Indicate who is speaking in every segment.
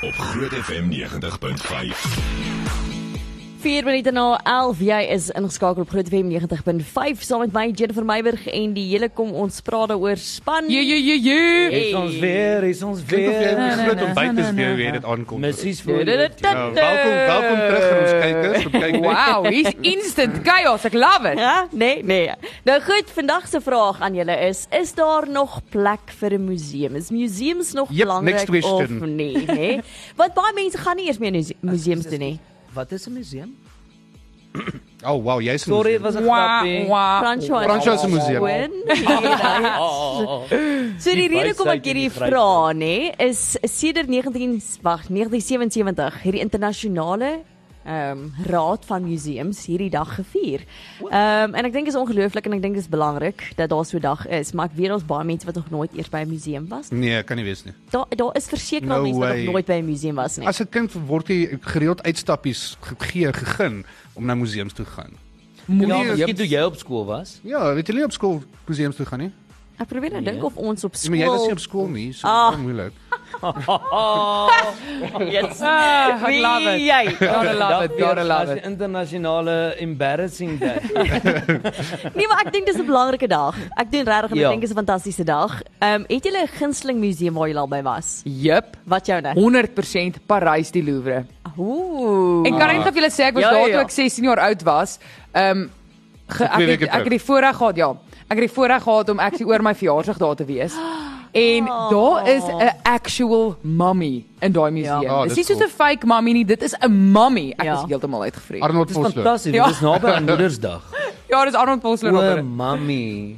Speaker 1: op Groot FM 90.5.
Speaker 2: 4 minute na 11 jy is ingeskakel op Groot FM 90.5 saam met my Jennifer Meiburg en die hele kom ons praat daaroor span.
Speaker 3: Jy jy jy jy.
Speaker 4: Is ons weer, is ons
Speaker 5: Klink of jy
Speaker 4: weer.
Speaker 3: nee,
Speaker 5: groot
Speaker 3: nee,
Speaker 5: ontbyt
Speaker 3: nee,
Speaker 5: is
Speaker 3: nee,
Speaker 5: weer
Speaker 3: nee.
Speaker 5: weer dit aankom.
Speaker 4: Missies
Speaker 2: Du-
Speaker 4: vir
Speaker 2: du- du-
Speaker 4: jou.
Speaker 2: du-
Speaker 5: Nou, welkom, welkom terug aan
Speaker 3: Eh,
Speaker 5: ons kykers. Ons kyk net
Speaker 3: Wow, hier's instant chaos. Ek love it.
Speaker 2: Ja, nee, nee. Nou goed, vandag se vraag aan julle is: is daar nog plek vir 'n museum? Is museums nog
Speaker 5: Yep, next
Speaker 2: belangrik of
Speaker 5: question.
Speaker 2: nie, nê? Want baie mense gaan nie eers meer muse- museums toe nie.
Speaker 4: Wat is 'n museum?
Speaker 5: Oh wow, jy's in
Speaker 4: Sorry, dit
Speaker 5: die-
Speaker 4: was 'n
Speaker 2: Ja,
Speaker 3: Wow,
Speaker 4: grapie.
Speaker 3: wow.
Speaker 2: Franchise
Speaker 5: Ah, Franchise Museum.
Speaker 4: Oh,
Speaker 2: So die
Speaker 4: Die
Speaker 2: rede hoekom ek
Speaker 4: wysheid en
Speaker 2: hierdie
Speaker 4: die
Speaker 2: vra nê is sedert 19 wag 1977 hierdie internasionale ehm raad van museums hierdie dag gevier. Ehm en ek dink is ongelooflik en ek dink dis belangrik dat daar so 'n dag is, maar ek weet daar's baie mense wat nog nooit eers by 'n museum was.
Speaker 5: Nee, kan nie wees nie.
Speaker 2: Daar daar is verseker
Speaker 5: No
Speaker 2: no mense wat
Speaker 5: way.
Speaker 2: nog nooit by 'n museum was
Speaker 3: Nee.
Speaker 2: nie.
Speaker 5: As 'n kind word jy gereeld uitstappies gegee gegeen om na museums toe gaan.
Speaker 4: Ja,
Speaker 5: Nee,
Speaker 4: jy toe jy op skool was.
Speaker 5: Ja, weet jy nie op skool museums toe gaan nie?
Speaker 2: Ek probeer nou dink
Speaker 4: Nee.
Speaker 2: of ons op
Speaker 5: Ek meen jy was nie
Speaker 2: skool
Speaker 5: op skool nie, so
Speaker 2: Ah.
Speaker 5: ah. moeilik.
Speaker 2: Yes.
Speaker 3: Ah, ek love
Speaker 2: Wie
Speaker 3: it.
Speaker 2: jy.
Speaker 3: Gotta love
Speaker 4: Dat
Speaker 3: it. Gotta
Speaker 4: was
Speaker 3: love
Speaker 4: as die
Speaker 3: it.
Speaker 4: internasionale uh, embarrassing day.
Speaker 2: Nee, maar ek dink dis 'n belangrike dag. Ek doen regtig en ek
Speaker 4: Ja.
Speaker 2: dink dis 'n fantastiese dag. Ehm um, het julle 'n gunsteling museum waar julle al by was?
Speaker 3: Jep.
Speaker 2: Wat joune?
Speaker 3: 100% Parys die Louvre.
Speaker 2: Ooh.
Speaker 3: En kan ek net vir julle sê ek was
Speaker 2: Ja, ja,
Speaker 3: daar toe
Speaker 2: ja.
Speaker 3: ek 16 jaar oud was. Ehm um, ge, ek
Speaker 5: Twee
Speaker 3: het,
Speaker 5: weke
Speaker 3: ek het die voorreg gehad, ja. Ek het die voorreg gehad om actually oor my verjaarsdag daar te wees. En
Speaker 2: Ah.
Speaker 3: daar is 'n actual mummy in daai museum.
Speaker 5: Ja,
Speaker 3: dis
Speaker 5: dis
Speaker 3: nie soos
Speaker 5: cool.
Speaker 3: 'n fake mummy nie, dit is 'n mummy. Ek
Speaker 2: Ja.
Speaker 3: is heeltemal uitgevrees.
Speaker 5: Arnold
Speaker 4: Dis
Speaker 5: Vosloo.
Speaker 4: fantasties,
Speaker 3: Ja.
Speaker 4: dis naby aan Moedersdag.
Speaker 3: ja, dis Arnold Vosloo
Speaker 4: O,
Speaker 3: daar.
Speaker 4: mami.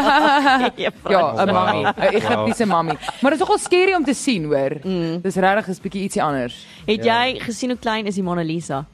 Speaker 3: Ja, 'n mummy,
Speaker 5: Wow.
Speaker 3: 'n Egiptiese mummy. Maar dit is nogal scary om te sien, hoor.
Speaker 2: Mm.
Speaker 3: Dis regtig is bietjie ietsie anders.
Speaker 2: Het jy gesien hoe klein is die Mona Lisa?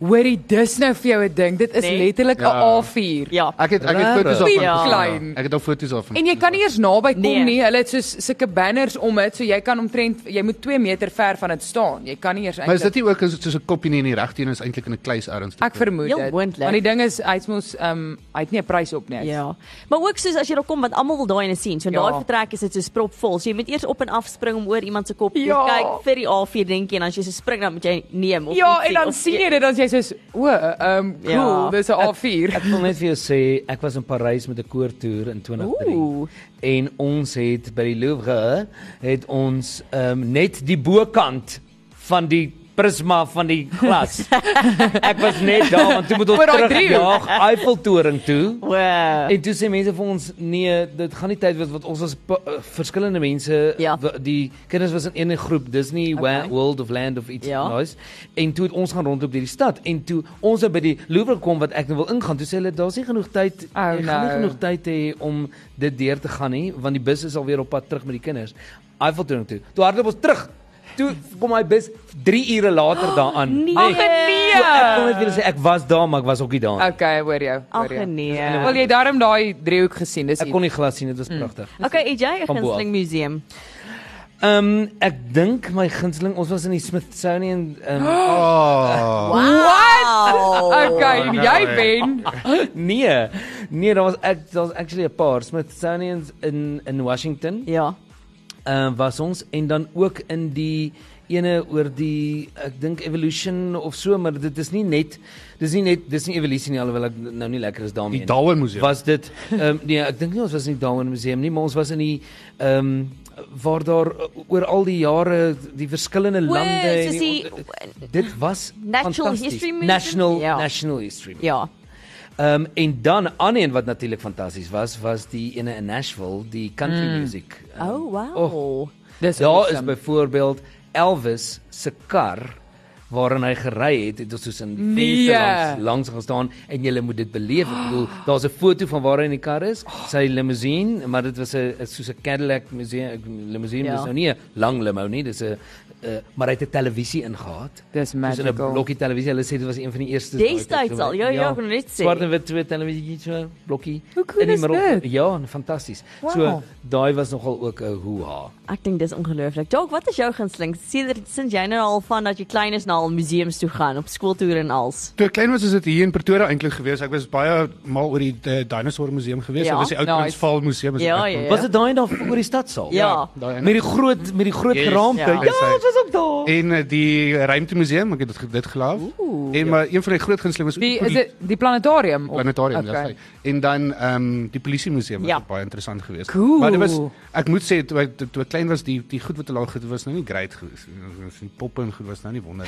Speaker 3: Hoorie, dis nou vir jou 'n ding. Dit is
Speaker 2: Nee.
Speaker 3: letterlik 'n
Speaker 5: Ja.
Speaker 3: A4.
Speaker 2: Ja.
Speaker 5: Ek het ek het
Speaker 4: Rarig.
Speaker 5: foto's daarvan.
Speaker 2: Ja.
Speaker 5: gevoel, ja.
Speaker 3: Klein.
Speaker 5: Ek het al foto's daarvan.
Speaker 3: En jy kan nie eers naby kom
Speaker 2: Nee.
Speaker 3: nee. nie. Hulle het soos sulke banners om dit, so jy kan omtrent jy moet 2 meter ver van dit staan. Jy kan nie eers
Speaker 5: Maar is dit
Speaker 3: eintlik
Speaker 5: nie ook as- soos 'n kopie nie en die regte een is eintlik in 'n kluis ergens? te
Speaker 3: Ek
Speaker 5: kry?
Speaker 3: vermoed
Speaker 2: Heel
Speaker 3: dit.
Speaker 2: moontlik.
Speaker 3: Want die ding is hy's mos ehm um, hy het nie 'n prys op nie.
Speaker 2: Ja. Maar ook soos as jy daar kom want almal wil daai ene sien. So in
Speaker 3: Ja.
Speaker 2: daai vertrek is dit so propvol. So jy moet eers op en af spring om oor iemand se kop te
Speaker 3: Ja.
Speaker 2: kyk vir die A4 dinkie en as jy so spring dan moet jy neem of
Speaker 3: Ja,
Speaker 2: iets
Speaker 3: en dan
Speaker 2: of
Speaker 3: sien jy dit as jy soos o, ehm um, cool,
Speaker 2: Ja.
Speaker 3: ja. dis 'n A4.
Speaker 4: Ek wil net vir jou sê ek was in Parys met 'n koortoer in 2003.
Speaker 2: Ooh.
Speaker 4: En ons het by die Louvre het ons um, net die bokant van die prisma van die glas. ek was net daar want toe moet ons
Speaker 3: Oor daai
Speaker 4: terugjaag Eiffeltoring toe.
Speaker 2: Wow.
Speaker 4: En toe sê mense vir ons nee, dit gaan nie tyd wees want ons was pa- uh, verskillende mense
Speaker 2: Ja.
Speaker 4: wa- die kinders was in een groep Disney okay. World of Land of iets
Speaker 2: Ja.
Speaker 4: ja. nice. En toe het ons gaan rondloop deur die stad en toe ons nou by die Louvre kom wat ek nou wil ingaan, toe sê hulle daar's nie genoeg tyd,
Speaker 3: Oh,
Speaker 4: jy gaan nie
Speaker 3: no.
Speaker 4: genoeg tyd hê om dit deur te gaan nie want die bus is alweer op pad terug met die kinders. Eiffeltoring toe. Toe hardloop ons terug. Toe kom my bus 3 ure later daaraan.
Speaker 2: nee.
Speaker 3: Ag
Speaker 4: So ek wil net
Speaker 3: nee.
Speaker 4: weer sê ek was daar, maar ek was ook nie daar.
Speaker 3: Okay, hoor jou.
Speaker 2: Ag
Speaker 3: Hoor jou.
Speaker 2: nee.
Speaker 3: Wil jy daarom daai driehoek gesien? Dis
Speaker 4: Ek kon nie glas sien, dit was pragtig.
Speaker 2: Okay, het jy 'n
Speaker 4: Van bo af.
Speaker 2: gunsteling museum?
Speaker 4: Ehm um, ek dink my gunsteling ons was in die Smithsonian ehm um,
Speaker 5: Oh.
Speaker 2: Wow.
Speaker 3: Okay,
Speaker 5: Oh, no
Speaker 3: jy
Speaker 5: way.
Speaker 3: wen.
Speaker 4: nee nee daar was ek daar was actually 'n paar Smithsonians in in Washington
Speaker 2: Ja.
Speaker 4: ehm um, was ons en dan ook in die ene oor die ek dink evolution of so maar dit is nie net dis nie net dis nie evolusie nie alhoewel ek nou nie lekker is daarmee
Speaker 5: Die
Speaker 4: nie.
Speaker 5: Darwin Museum.
Speaker 4: was dit um, nee ek dink nie ons was in die Darwin museum nie maar ons was in die ehm um, waar daar uh, oor al die jare die verskillende
Speaker 2: Wow,
Speaker 4: lande en
Speaker 2: soos
Speaker 4: die- dit was
Speaker 2: Natural
Speaker 4: fantasties.
Speaker 2: History Museum?
Speaker 4: National
Speaker 2: Ja.
Speaker 4: National History Museum.
Speaker 2: Ja.
Speaker 4: Ehm um, en dan ander een wat natuurlik fantasties was was die ene in Nashville die country mm. music. Um,
Speaker 2: Oh wow.
Speaker 3: Dis
Speaker 4: Daar
Speaker 3: awesome.
Speaker 4: Ja, is byvoorbeeld Elvis se kar waarin hy gery het, het ons soos in die
Speaker 3: Nee.
Speaker 4: venster langs langs gaan staan en jy moet dit beleef. Ek bedoel, daar's 'n foto van waar hy in die kar is,
Speaker 2: Oh.
Speaker 4: sy limousine, maar dit was 'n 'n soos 'n Cadillac museum eh, limousine,
Speaker 2: Ja.
Speaker 4: ja. dis nou nie 'n lang limo nie, dis 'n uh, maar hy het 'n televisie ingehaat.
Speaker 3: Dis
Speaker 4: Dis in 'n
Speaker 3: magical.
Speaker 4: blokkie televisie. Hulle sê dit was een van die eerste
Speaker 2: Destyds al, ja, ja, ek wou net sê.
Speaker 4: Swart en wit twee televisie so blokkie
Speaker 3: Hoe cool is dit?
Speaker 4: Ja, en fantasties.
Speaker 3: Wow.
Speaker 4: Wow. So daai was nogal ook 'n hoeha.
Speaker 2: Ek dink dis ongelooflik. Jock, wat is jou gunsteling? Sedert sinds jy nou al van dat jy klein is na al museums toe gaan, op skooltoere en als.
Speaker 5: Toe ek klein was is dit hier in Pretoria eintlik gewees. Ek was baie mal oor die eh, dinosaur museum gewees.
Speaker 2: Ja,
Speaker 5: Ja, dit was die ou
Speaker 3: nice.
Speaker 5: Transvaal museum is
Speaker 2: Ja,
Speaker 5: ook-
Speaker 2: ja, ja.
Speaker 4: Was dit daai daar oor die stadsaal?
Speaker 2: Ja.
Speaker 5: daai ene.
Speaker 4: Met die groot met die groot
Speaker 5: Yes.
Speaker 4: geraamte.
Speaker 2: Ja.
Speaker 4: Ja, dit was ook daar.
Speaker 5: En eh, die ruimte museum, ek het dit dit gelaaf.
Speaker 2: Oeh.
Speaker 5: En maar een van die groot gunstelinge was ook
Speaker 3: Die
Speaker 5: poli-
Speaker 3: is dit die planetarium. of-
Speaker 5: planetarium
Speaker 3: Okay.
Speaker 5: okay. en dan ehm die polisie museum was
Speaker 2: Ja.
Speaker 5: ook baie interessant geweest.
Speaker 3: Cool.
Speaker 5: Maar dit was ek moet sê toe ek toe ek klein was die die goed wat hulle al gedoen was nou nie great geweest. Die poppe en goed was nou nie wonder.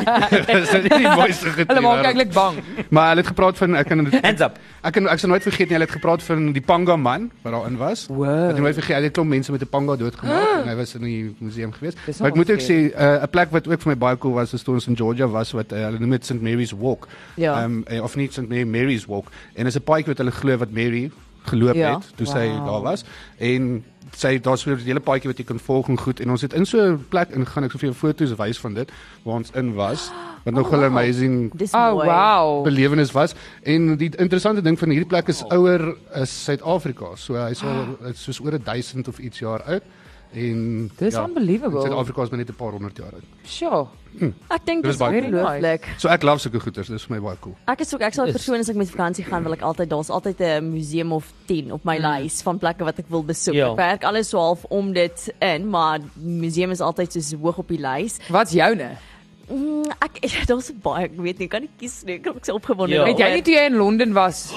Speaker 5: Dis nie die mooiste goed. in
Speaker 3: Hulle
Speaker 5: die
Speaker 3: maak
Speaker 5: wêreld.
Speaker 3: eintlik bang.
Speaker 5: Maar hulle het gepraat van ek kan
Speaker 4: Hands up.
Speaker 5: Ek kan ek sal nooit vergeet nie, hulle het gepraat van die Panga man wat daarin was.
Speaker 3: Wow. Ah.
Speaker 5: Ek het nooit vergeet, hy het 'n klomp mense met 'n panga doodgemaak en hy was in die museum gewees.
Speaker 3: Dis
Speaker 5: Maar ek moet ook
Speaker 3: nogal
Speaker 5: sê eh, 'n plek wat ook vir my baie cool was, was toe ons in Georgia was wat eh, hulle noem dit St Mary's Walk.
Speaker 2: Ja.
Speaker 5: Ehm eh, of nie St Mary Mary's Walk en is 'n paadjie wat hulle glo wat Mary geloop
Speaker 2: Ja.
Speaker 5: het toe sy
Speaker 3: Wow.
Speaker 5: daar was en sy daar's weer 'n hele paadjie wat jy kan volg en goed en ons het in so 'n plek ingegaan ek sou vir jou foto's wys van dit waar ons in was wat nogal
Speaker 2: wow.
Speaker 5: amazing
Speaker 2: Dis
Speaker 3: Oh
Speaker 2: mooi.
Speaker 3: wow.
Speaker 5: belewenis was en die interessante ding van hierdie plek is
Speaker 2: Oh.
Speaker 5: ouer as Suid-Afrika. So hy
Speaker 2: Ah.
Speaker 5: is al hy is soos oor 1000 of iets jaar oud en
Speaker 3: Dis
Speaker 5: ja, en
Speaker 3: unbelievable.
Speaker 5: Suid-Afrika is maar net 'n paar honderd jaar oud.
Speaker 3: Sjoe.
Speaker 2: Ek dink
Speaker 5: Dit
Speaker 2: dis
Speaker 5: is baie cool.
Speaker 2: ongelooflik.
Speaker 5: So ek love sulke goeders, dis vir my baie cool.
Speaker 2: Ek is ook ek sal 'n persoon as ek met vakansie gaan wil ek altyd daar's altyd 'n museum of 10 op my lys van plekke wat ek wil besoek.
Speaker 4: Ja.
Speaker 2: Ek werk alles so half om dit in, maar museum is altyd so hoog op die lys.
Speaker 3: Wat's nou? joune?
Speaker 2: Mm, ek daar's baie, ek weet nie, ek kan nie kies nie. Ek raak so opgewonde.
Speaker 4: Ja.
Speaker 2: daaroor.
Speaker 3: Het jy nie toe jy in Londen was?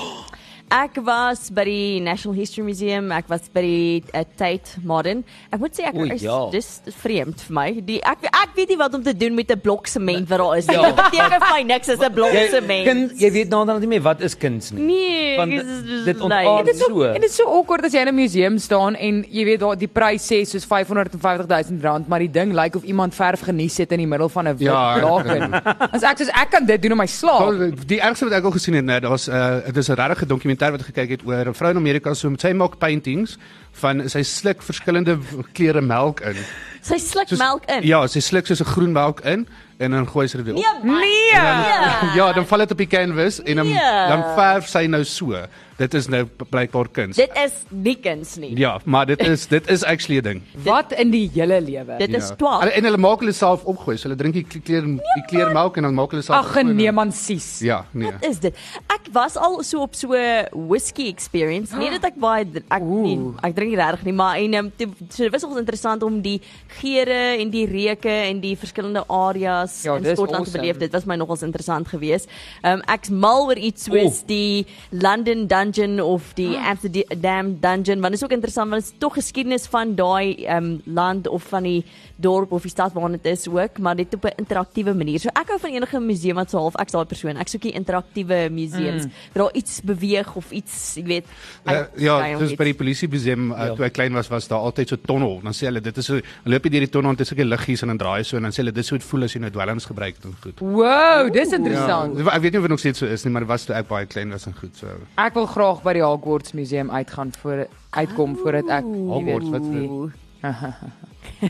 Speaker 2: Ek was by die National History Museum, ek was by die uh, Tate Modern. Ek moet sê ek
Speaker 4: O,
Speaker 2: is
Speaker 4: ja.
Speaker 2: dis vreemd vir my. Die ek ek weet nie wat om te doen met 'n blok sement wat daar is nie. Dit beteken vir my niks as 'n blok
Speaker 4: Jy,
Speaker 2: sement.
Speaker 4: kind, jy weet naderhand nie meer wat is kuns nie.
Speaker 2: Nee,
Speaker 4: Want
Speaker 2: dit is
Speaker 4: dit
Speaker 2: dis
Speaker 4: ontaard-
Speaker 2: nice.
Speaker 3: Dit is so,
Speaker 4: So.
Speaker 3: en dit is so awkward as jy in 'n museum staan en jy weet daar die prys sê soos 550 000 rand, maar die ding lyk like of iemand verf genies het in die middel van 'n wit
Speaker 5: Ja,
Speaker 3: ja, laken. As ek soos ek kan dit doen in my slaap.
Speaker 5: Wel, Die ergste wat ek al gesien het, nee, daar's 'n uh, dit is 'n regte dokumentêr wat ek gekyk het oor 'n vrou in Amerika so met sy maak paintings van sy sluk verskillende kleure melk in.
Speaker 2: Sy sluk
Speaker 5: Soos-
Speaker 2: melk in.
Speaker 5: Ja, sy sluk soos 'n groen melk in en dan gooi sy dit weer op.
Speaker 2: Nee. man.
Speaker 3: Nee.
Speaker 2: Ja.
Speaker 5: ja, dan val dit op die canvas en dan
Speaker 2: Ja.
Speaker 5: dan verf sy nou so. Dit is nou blykbaar kuns.
Speaker 2: Dit is nie kuns nie.
Speaker 5: ja, maar dit is dit is actually 'n ding.
Speaker 3: Wat in die hele lewe.
Speaker 2: Dit is
Speaker 5: ja.
Speaker 2: twaalf. Ja,
Speaker 5: Hulle- En hulle maak hulle self opgooi. So hulle drink die kleur die kleurmelk en dan maak hulle self
Speaker 3: Ag
Speaker 5: opgooi en
Speaker 3: nee
Speaker 5: dan-
Speaker 3: man sies.
Speaker 5: Ja, nee.
Speaker 2: Wat is dit? Ek was al so op so 'n whisky experience. Nie dat ek baie dr- ek nie, ek drink nie regtig nie, maar en um, toe, so dit was ons interessant om die geure en die reuke en die verskillende areas
Speaker 3: Ja,
Speaker 2: in
Speaker 3: dis
Speaker 2: Skotland te
Speaker 3: awesome.
Speaker 2: beleef. Dit was my nogals interessant geweest. Um, ek's mal oor iets soos
Speaker 4: Oh.
Speaker 2: die London Dungeon of die Amsterdam Dungeon, want dit is ook interessant want dit is tog geskiedenis van daai um, land of van die dorp of die stad waarna dit is ook, maar dit op 'n interaktiewe manier. So ek hou van enige museum wat so half ek's daai persoon. Ek soek die interaktiewe museums waar daar iets beweeg of iets, jy weet.
Speaker 5: Uh, ja,
Speaker 2: uitskei of
Speaker 5: dis
Speaker 2: iets.
Speaker 5: by die polisie museum uh,
Speaker 4: Ja.
Speaker 5: toe ek klein was was daar altyd so tonnel. Dan sê hulle dit is so loop jy deur die tonnel en dit is sulke liggies en dan draai jy so en dan sê hulle dis hoe dit voel as jy nou dwelms gebruik het en goed.
Speaker 3: Wow, dis interessant.
Speaker 5: Ja, ek weet nie of dit nog steeds so is nie, maar dit was toe ek baie klein was en goed so.
Speaker 3: Ek wil graag by die Hogwarts museum uitgaan voor uitkom voordat ek jy weet.
Speaker 5: Hogwarts wat
Speaker 2: Ooh.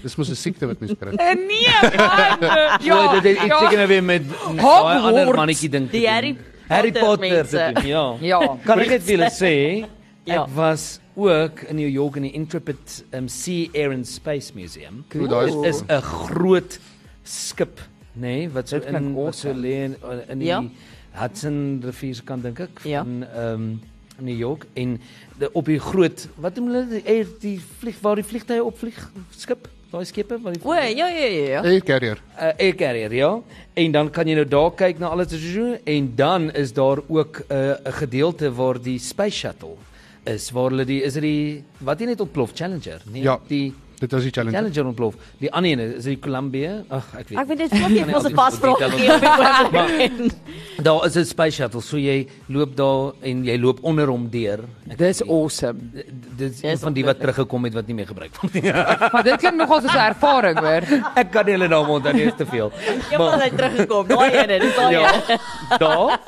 Speaker 5: dis mos 'n siekte wat mens kry.
Speaker 3: Eh, Nee man.
Speaker 4: Ja,
Speaker 3: Ja,
Speaker 4: dit het iets
Speaker 3: ja,
Speaker 4: seker weer met met daai
Speaker 3: Hogwarts.
Speaker 4: ander mannetjie ding. te
Speaker 2: Die
Speaker 4: doen.
Speaker 2: Harry
Speaker 4: Harry Potter
Speaker 2: Potter
Speaker 4: te doen, ja.
Speaker 3: ja.
Speaker 4: Kan ek net vir julle sê
Speaker 2: Ja.
Speaker 4: ek was ook in New York in die Intrepid um, Sea Air and Space Museum.
Speaker 5: Hoe daai
Speaker 3: Oh.
Speaker 4: Dit is 'n groot skip, nê, nee, wat so
Speaker 3: Dit klink
Speaker 4: in wat so
Speaker 3: awesome.
Speaker 4: lê in, in die
Speaker 2: Ja.
Speaker 4: Hudson rivier se kant dink ek
Speaker 2: Ja.
Speaker 4: van ehm um, New York en de, op die groot wat noem hulle die air die vlieg waar die vliegtye opvlieg skip, daai skepe wat die
Speaker 2: O, ja ja ja ja.
Speaker 5: Hey carrier.
Speaker 4: uh, air carrier ja en dan kan jy nou daar kyk na alles wat jy doen en dan is daar ook 'n uh, 'n gedeelte waar die space shuttle is waar hulle die is dit die wat jy net ontplof Challenger nee
Speaker 5: Ja.
Speaker 4: die
Speaker 5: Dit was die challenge.
Speaker 4: Challenger ontplof Ja, die ander een is die Columbia ag ek weet
Speaker 2: Ek vind dit so baie ons 'n vasvraag
Speaker 4: Ja,
Speaker 2: gegee op die oomblik.
Speaker 4: daar is 'n space shuttle so jy loop daar en jy loop onder hom deur Ek-
Speaker 3: Dis awesome.
Speaker 4: d- d- dit is
Speaker 2: Dis
Speaker 4: een van die wat teruggekom het wat nie meer gebruik word nie
Speaker 3: Maar dit klink nogal soos 'n ervaring hoor.
Speaker 4: ek kan nie hulle name onthou nie is te veel
Speaker 2: Jy het al teruggekom. Daai ene, dis daai ene.
Speaker 4: ja, daar.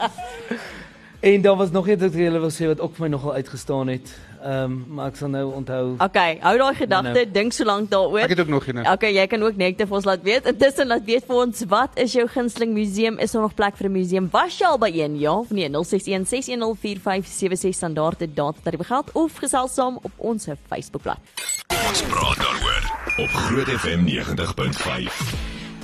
Speaker 4: En daar was nog iets wat ek julle wil sê wat ook vir my nogal uitgestaan het. Ehm, um, maar ek sal nou onthou.
Speaker 2: Okay, hou daai gedagte,
Speaker 4: Nou,
Speaker 2: dink so lank daaroor.
Speaker 5: Nee, Ek het ook nog een.
Speaker 2: Okay, jy kan ook net vir ons laat weet. Intussen laat weet vir ons wat is jou gunsteling museum? Is daar nog plek vir 'n museum? Was jy al by een? Ja of nee? 0616104576 standaard dit data dat jy begeld of gesels saam op ons Facebookblad.
Speaker 1: Ons praat daaroor op Groot FM 90.5.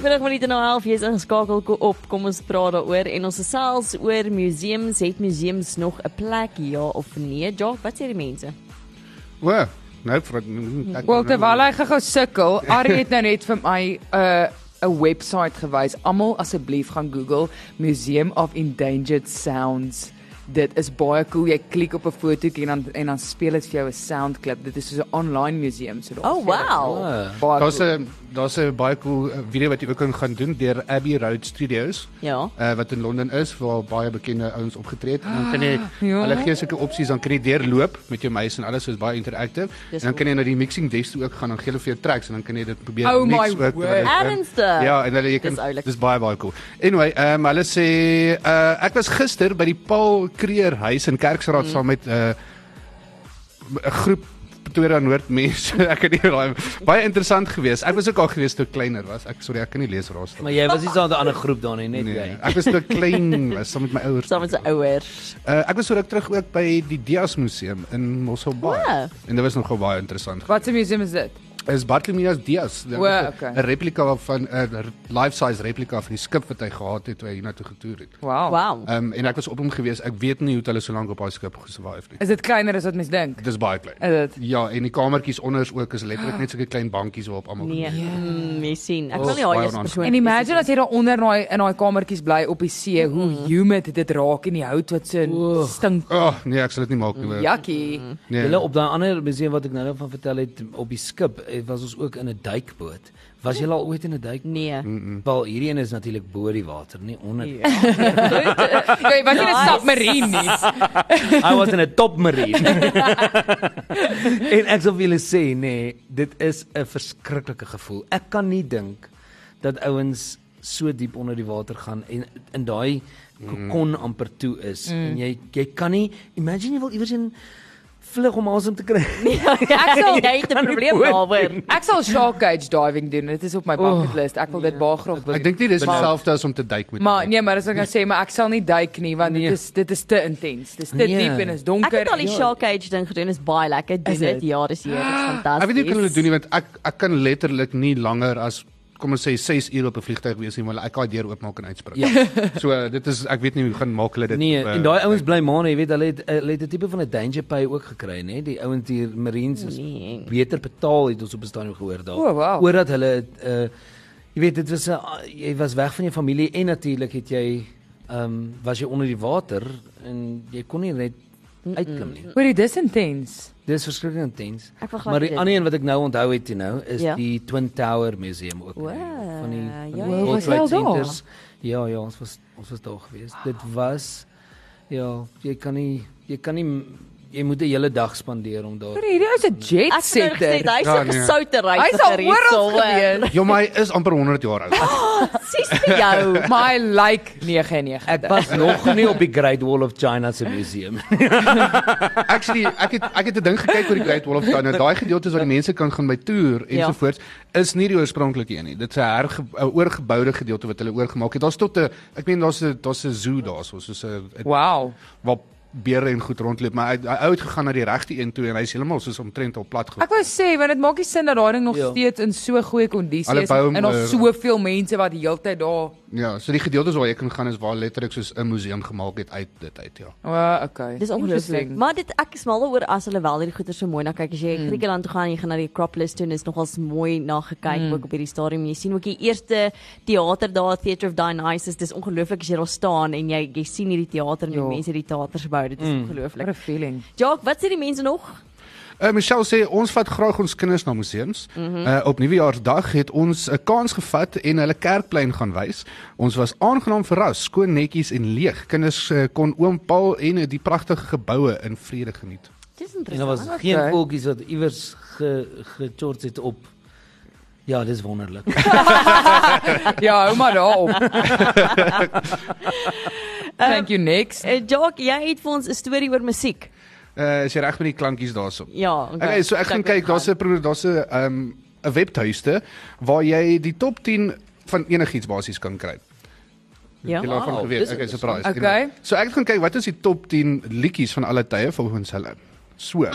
Speaker 2: 20 minute na 11 jy's ingeskakel ko- op. Kom ons praat daaroor en ons gesels oor museums. Het museums nog 'n plek ja of nee? Ja, wat sê die mense?
Speaker 5: O, nou vir ek nou-
Speaker 3: Wel terwyl hy gou sukkel, Ari het nou net vir my 'n uh, 'n webwerf gewys. Almal asseblief gaan Google Museum of Endangered Sounds. Dit is baie cool. Jy klik op 'n fotootjie en dan en dan speel dit vir jou 'n soundklip. Dit is so 'n online museum so daar.
Speaker 2: Oh, wow.
Speaker 4: Ah,
Speaker 3: Baie
Speaker 5: Daar's
Speaker 3: cool.
Speaker 5: 'n daar's 'n baie cool eh, video wat jy ook kan gaan doen deur Abbey Road Studios.
Speaker 2: Ja.
Speaker 5: Uh, wat in Londen is waar baie bekende ouens opgetree het. En Dan kan jy
Speaker 3: Ja.
Speaker 5: hulle gee sulke opsies dan kan jy deurloop met jou muis en alles so is baie interactive.
Speaker 2: Dis
Speaker 5: en dan kan jy na die mixing desk toe ook gaan en gee hulle vir jou tracks en dan kan jy dit probeer
Speaker 3: Oh my
Speaker 5: mix ook. terwyl jy-
Speaker 2: Ernstig?
Speaker 5: Ja, en hulle jy
Speaker 2: Dis
Speaker 5: kan
Speaker 2: oulik.
Speaker 5: dis baie baie cool. Anyway, ehm um, hulle sê uh, ek was gister by die Paul Kreer huis in Kerksraad mm. saam met 'n uh, 'n groep Pretoria Noord mense. ek het nie raai baie interessant geweest. Ek was ook al geweest toe ek kleiner was. Ek sorry, ek kan nie lees raas nie.
Speaker 4: Maar jy was nie saam met 'n ander groep dan nie, net
Speaker 5: Nee,
Speaker 4: jy.
Speaker 5: ek was toe ek klein was saam met my ouers.
Speaker 2: Saam met sy ouers.
Speaker 5: Uh, ek was ook terug ook by die Dias museum in Mosselbaai.
Speaker 2: Wow.
Speaker 5: En dit was nogal baie interessant.
Speaker 3: Wat 'n museum is dit?
Speaker 5: is Bartolomeus Diaz. Dit
Speaker 3: O,
Speaker 5: is 'n-
Speaker 3: okay.
Speaker 5: 'n replika van 'n life-size replika van die skip wat hy gehad het toe hy hiernatoe getoer het.
Speaker 3: Wow.
Speaker 2: Wow.
Speaker 5: Ehm um, en ek was op hom gewees. Ek weet nie hoe het hulle so lank op daai skip gesurvive nie.
Speaker 3: Is dit kleiner as wat mens dink?
Speaker 5: Dit is baie klein.
Speaker 3: Is dit?
Speaker 5: Ja, en die kamertjies onder is ook is letterlik net sulke klein bankies waarop almal
Speaker 2: Nee, mm, jy sien. Ek
Speaker 5: Oh,
Speaker 2: wil nie haar
Speaker 5: baie
Speaker 2: eers
Speaker 5: onaangenaam.
Speaker 2: persoon.
Speaker 3: En imagine as jy daar onder in daai in daai kamertjies bly op die see, hoe humid dit raak en die hout wat so stink.
Speaker 5: O, oh, nee, ek sal dit nie maak nie. hoor.
Speaker 3: Jakkie.
Speaker 5: Nee.
Speaker 4: Hulle op daai ander museum wat ek nou van vertel het op die skip, eh, was ons ook in 'n duikboot. Was jy al ooit in 'n duik?
Speaker 2: Nee.
Speaker 4: Wel, hierdie een is natuurlik bo die water, nie onder. nie.
Speaker 3: Jy was nie 'n
Speaker 2: Nice.
Speaker 3: submarine nie.
Speaker 4: I was in 'n topmarine. en ek sal vir julle sê, nee, dit is 'n verskriklike gevoel. Ek kan nie dink dat ouens so diep onder die water gaan en in daai
Speaker 5: Mm.
Speaker 4: kon amper toe is en jy jy kan nie imagine jy wil iewers in vlug om asem te kry.
Speaker 2: Nee. Ek sal jy het 'n probleem
Speaker 4: boot
Speaker 2: daaroor.
Speaker 3: Ek sal shark cage diving doen. Dit is op my bucket list. Ek wil dit baie graag doen.
Speaker 5: Ek dink nie dis
Speaker 4: Maar-
Speaker 5: dieselfde as om te duik met.
Speaker 3: Maar nee, maar as ek nou sê, maar ek sal nie duik nie want
Speaker 4: Nee.
Speaker 3: dit is dit is te intens. Dit is te
Speaker 4: Nee.
Speaker 3: diep en is
Speaker 2: Ek
Speaker 3: donker. Ja.
Speaker 2: het al die shark cage ding gedoen. Is baie lekker. Doen
Speaker 3: Is
Speaker 2: dit.
Speaker 3: dit?
Speaker 2: Ja, dis hier. Dis fantasties.
Speaker 5: Ek weet nie hoe kan hulle doen nie want ek ek kan letterlik nie langer as kom ons sê 6 ure op 'n vliegtyg wees nie, maar ek kan die deur oopmaak en uitspring.
Speaker 4: Ja.
Speaker 5: So eh, dit is ek weet nie hoe gaan maak hulle dit.
Speaker 4: Nee,
Speaker 5: op, eh,
Speaker 4: en daai ouens bly maande, jy weet, hulle het hulle het 'n tipe van 'n danger pay ook gekry, nê? Die ouens hier Marines is
Speaker 2: Nee.
Speaker 4: beter betaal het ons op 'n stadium gehoor daar.
Speaker 3: O,
Speaker 2: Oh.
Speaker 3: wow.
Speaker 4: Oordat hulle uh jy weet, dit was 'n jy was weg van jou familie en natuurlik het jy ehm um, was jy onder die water en jy kon nie net uitklim nie.
Speaker 3: Hoorie, dis intens.
Speaker 4: Dis verskriklik intens.
Speaker 2: Ek wil glad
Speaker 4: Maar
Speaker 2: nie
Speaker 4: die
Speaker 2: dit-
Speaker 4: ander een wat ek nou onthou het, jy nou, is
Speaker 2: Ja.
Speaker 4: die Twin Tower Museum ook. in
Speaker 2: Wow,
Speaker 4: New York, van die van die
Speaker 2: ja,
Speaker 4: World
Speaker 3: ja, was jy
Speaker 4: Trade
Speaker 3: al daar?
Speaker 4: Centers. Ja, ja, ons was ons was daar gewees. Dit was ja, jy kan nie jy kan nie jy moet 'n hele dag spandeer om daar.
Speaker 3: Hoorie, hierdie ou se jet
Speaker 2: Ek het nou gesê
Speaker 3: setter.
Speaker 2: hy's
Speaker 5: Ja,
Speaker 2: 'n
Speaker 5: nee.
Speaker 2: gesoute
Speaker 3: Hy
Speaker 2: reisiger.
Speaker 3: is al oral gewees.
Speaker 5: Ja, maar hy is amper 100 jaar oud.
Speaker 2: Sies vir jou.
Speaker 3: My like 99.
Speaker 4: Ek was nog nie op die Great Wall of China se museum.
Speaker 5: Actually, ek het ek het 'n ding gekyk oor die Great Wall of China. Daai gedeeltes waar die mense kan gaan by toer
Speaker 2: Ja.
Speaker 5: ensovoorts is nie die oorspronklike een nie. Dit is 'n herge- 'n oorgeboude gedeelte wat hulle oorgemaak het. Daar's tot 'n ek meen daar's 'n daar's 'n zoo daarso, soos 'n 'n-
Speaker 3: Wow.
Speaker 5: waar beere en goed rondloop, maar hy hy ou het gegaan na die regte een toe en hy's heeltemal soos omtrent al plat
Speaker 3: Ek
Speaker 5: gegaan.
Speaker 3: wou sê want dit maak nie sin dat daai ding nog
Speaker 4: Ja.
Speaker 3: steeds in so goeie kondisie
Speaker 5: Hulle
Speaker 3: is
Speaker 5: bou hom,
Speaker 3: en
Speaker 5: eh,
Speaker 3: daar's soveel mense wat die hele tyd daar.
Speaker 5: Ja, so die gedeeltes waar jy kan gaan is waar letterlik soos 'n museum gemaak het uit dit uit, ja.
Speaker 3: O, oh, okay.
Speaker 2: Dis ongelooflik.
Speaker 3: Interesting.
Speaker 2: Maar dit ek is mal oor as hulle wel hierdie goeie so mooi na kyk. As jy
Speaker 5: Hmm.
Speaker 2: mm. Griekeland toe gaan, en jy gaan na die Acropolis toe en is nogals mooi na gekyk
Speaker 5: Hmm.
Speaker 2: mm. ook op hierdie stadium. Jy sien ook die eerste teater daar, Theatre of Dionysus. Dis ongelooflik as jy daar staan en jy jy sien hierdie teater en die
Speaker 3: Ja.
Speaker 2: mense die teaters bou. Dit
Speaker 5: Hmm.
Speaker 2: is mm.
Speaker 3: What
Speaker 2: ongelooflik.
Speaker 3: a feeling.
Speaker 2: Jock, wat sê die mense nog?
Speaker 5: Uh, Michelle sê ons vat graag ons kinders na museums. Mm -hmm. uh, op Nuwejaarsdag het ons 'n kans gevat en hulle kerkplein gaan wys. Ons was aangenaam verras, skoon netjies en leeg. Kinders uh, kon oom Paul en uh, die pragtige geboue in vrede geniet.
Speaker 2: Dis
Speaker 4: En daar was
Speaker 2: interessant.
Speaker 4: geen voeltjies wat iewers ge gechort het op. Ja, dis wonderlik.
Speaker 3: Ja, hou maar daar op. Thank you next.
Speaker 2: Uh, Jock, jy het vir ons 'n storie oor musiek.
Speaker 5: Uh, is jy reg met die klankies daarso?
Speaker 2: Ja, okay.
Speaker 5: Okay, so ek gaan kyk, daar's 'n pro- daar's 'n um 'n webtuiste waar jy die top 10 van enigiets basies kan kry.
Speaker 2: Ja.
Speaker 5: Jy laat van
Speaker 4: Wow,
Speaker 5: geweet.
Speaker 4: dis
Speaker 5: Okay, surprise.
Speaker 3: interessant.
Speaker 5: Anyway.
Speaker 3: Okay.
Speaker 5: So ek het gaan kyk wat is die top 10 liedjies van alle tye volgens hulle. So.